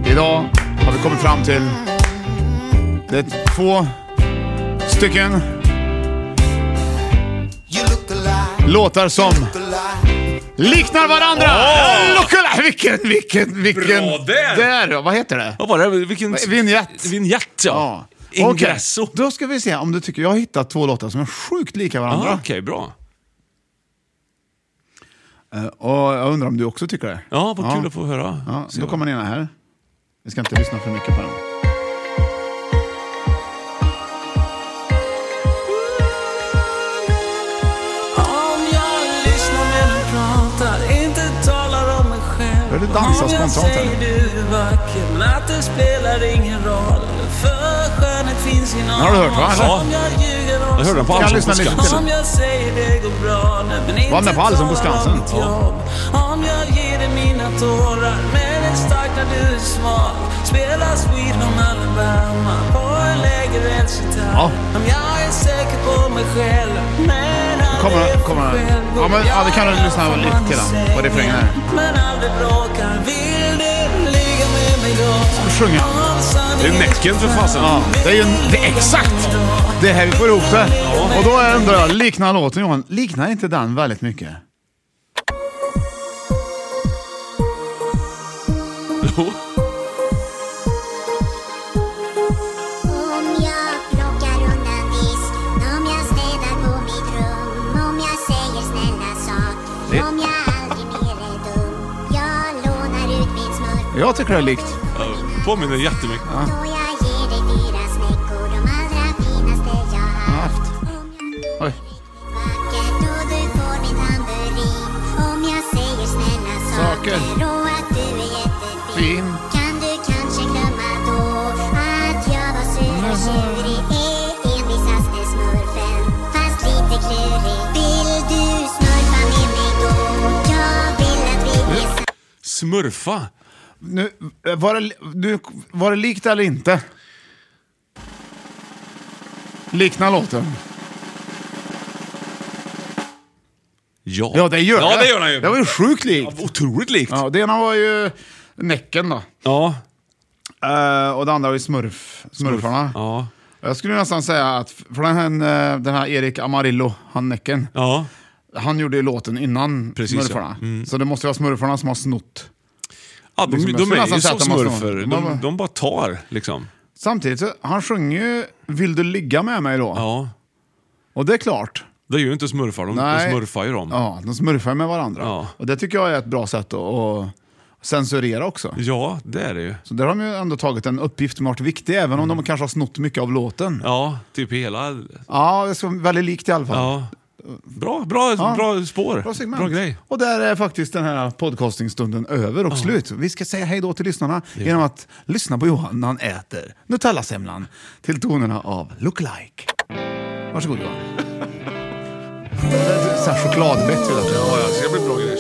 Speaker 3: Idag har vi kommit fram till... Det är två stycken låtar som liknar varandra.
Speaker 2: Åh!
Speaker 3: Look alike. Vilken, vilken, vilken...
Speaker 2: Bra där!
Speaker 3: Där, ja. vad heter det?
Speaker 2: Vad var det? Vilken...
Speaker 3: Vignett.
Speaker 2: Vignett, ja.
Speaker 3: Okej,
Speaker 2: Ingresso.
Speaker 3: då ska vi se om du tycker... Jag har hittat två låtar som är sjukt lika varandra.
Speaker 2: Ja, Ah, Okej, bra.
Speaker 3: Eh, Och jag undrar om du också tycker det?
Speaker 2: Ja, vad kul att få höra.
Speaker 3: Ja,
Speaker 2: Se
Speaker 3: då
Speaker 2: vad-
Speaker 3: kommer den ena här. Vi ska inte lyssna för mycket på den.
Speaker 9: Om jag lyssnar medan du pratar, inte talar om mig själv.
Speaker 3: Hör du dansa
Speaker 9: Om jag
Speaker 3: spontant här?
Speaker 9: säger du är vacker, men att det spelar ingen roll. För skönhet finns inom
Speaker 3: har du hört, va?
Speaker 9: oss.
Speaker 3: Ja.
Speaker 9: Om jag ljuger om
Speaker 2: Jag hörde den på
Speaker 3: Kan jag
Speaker 2: Allsång
Speaker 3: lyssna
Speaker 2: på
Speaker 3: lite
Speaker 2: Skansen.
Speaker 9: Om jag säger det går bra nu, men
Speaker 3: Var
Speaker 9: inte
Speaker 3: med på Allsång på
Speaker 9: talar om
Speaker 3: Skansen.
Speaker 9: mitt jobb. Om jag ger dig mina tårar, men är stark när du är svag. Spela Sweet Home Alabama på en lägereldsgitarr.
Speaker 3: Ja.
Speaker 9: Om jag är säker på mig själv, men
Speaker 3: Kommer, kommer. Ja, men, ja, det kan du lyssna lite till den, på refrängen här.
Speaker 4: Men aldrig bråkar, vill du ligga med mig då?
Speaker 3: Ska sjunga.
Speaker 2: Det är Näcken för fasen.
Speaker 3: Ja, det är ju det är exakt det är här vi får ihop det. Och då undrar jag, liknar låten Johan, liknar inte den väldigt mycket?
Speaker 2: Jo.
Speaker 3: Jag tycker det är likt.
Speaker 2: Påminner jättemycket.
Speaker 3: Oj. Saker. Fin.
Speaker 2: Smurfa.
Speaker 3: Nu, var, det, nu, var det likt eller inte? Liknar låten?
Speaker 2: Ja.
Speaker 3: Ja, det gör
Speaker 2: ja,
Speaker 3: det.
Speaker 2: det. gör den ju.
Speaker 3: Det var ju sjukt likt.
Speaker 2: Otroligt likt.
Speaker 3: Ja, det ena var ju Näcken då.
Speaker 2: Ja.
Speaker 3: Eh, och det andra var ju smurf, Smurfarna.
Speaker 2: Ja.
Speaker 3: Jag skulle nästan säga att, för den här, eh, den här Erik Amarillo, han Näcken,
Speaker 2: Ja.
Speaker 3: han gjorde ju låten innan
Speaker 2: Precis,
Speaker 3: Smurfarna.
Speaker 2: ja. Mm.
Speaker 3: Så det måste vara Smurfarna som har snott.
Speaker 2: ja de,
Speaker 3: Liksom, jag
Speaker 2: de,
Speaker 3: skulle
Speaker 2: är
Speaker 3: nästan
Speaker 2: ju
Speaker 3: säga
Speaker 2: som
Speaker 3: att de har
Speaker 2: smurfer.
Speaker 3: snott.
Speaker 2: De,
Speaker 3: De har-
Speaker 2: de, bara tar liksom.
Speaker 3: Samtidigt, så, han sjunger ju “Vill du ligga med mig då?”
Speaker 2: Ja.
Speaker 3: Och det är klart.
Speaker 2: Det är ju inte smurfar. De, de
Speaker 3: Nej.
Speaker 2: smurfar ju dem.
Speaker 3: Ja, de smurfar med varandra.
Speaker 2: Ja.
Speaker 3: Och det tycker jag är ett bra sätt att, att censurera också.
Speaker 2: Ja, det är det ju.
Speaker 3: Så där har de ju ändå tagit en uppgift som har varit viktig, även om de kanske har snott mycket av låten.
Speaker 2: Ja, typ hela...
Speaker 3: Ja, det är så väldigt likt i alla fall.
Speaker 2: Ja. Bra, bra,
Speaker 3: Ja.
Speaker 2: bra spår.
Speaker 3: Bra segment.
Speaker 2: grej.
Speaker 3: Och där är faktiskt den här podcastingstunden över och slut. Vi ska säga hej då till lyssnarna genom att lyssna på Johan när han äter Nutellasemlan till tonerna av Look Like. Varsågod Johan. det är så här chokladbett vill jag tro.
Speaker 2: Ja, ja, det ska bli bra grejer.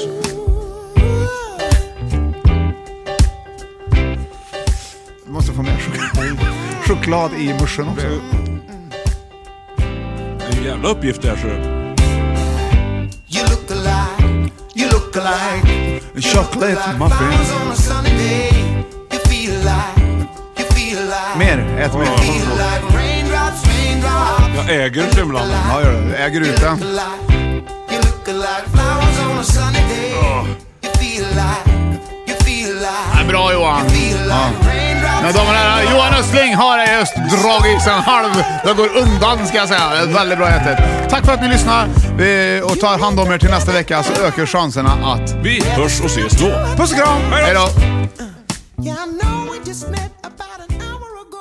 Speaker 3: Vi måste få mer choklad, choklad i muschen också.
Speaker 2: Det är ju en jävla uppgift det här. så.
Speaker 8: You look alike, you look alike.
Speaker 3: Chocolate muffins.
Speaker 8: on a sunny day. You feel alive, you feel alive.
Speaker 3: Mer, ät mer.
Speaker 8: Feel alive, raindrops, raindrops.
Speaker 2: Jag äger semlan.
Speaker 3: Ja, gör det. Äger ut den.
Speaker 8: You look alike, flowers on a sunny day. You feel alive, you feel alive.
Speaker 3: Ja, bra Johan.
Speaker 8: Feel alive, raindrops.
Speaker 3: Mina damer och herrar, Johan Östling har just dragit sig en halv. Det går undan ska jag säga. Det är väldigt bra ätit. Tack för att ni lyssnar Vi- och tar hand om er till nästa vecka så ökar chanserna att...
Speaker 2: Vi hörs och ses då.
Speaker 3: Puss och kram!
Speaker 2: Hej då.
Speaker 3: Hej då!
Speaker 4: Yeah, I know we just met about an hour ago.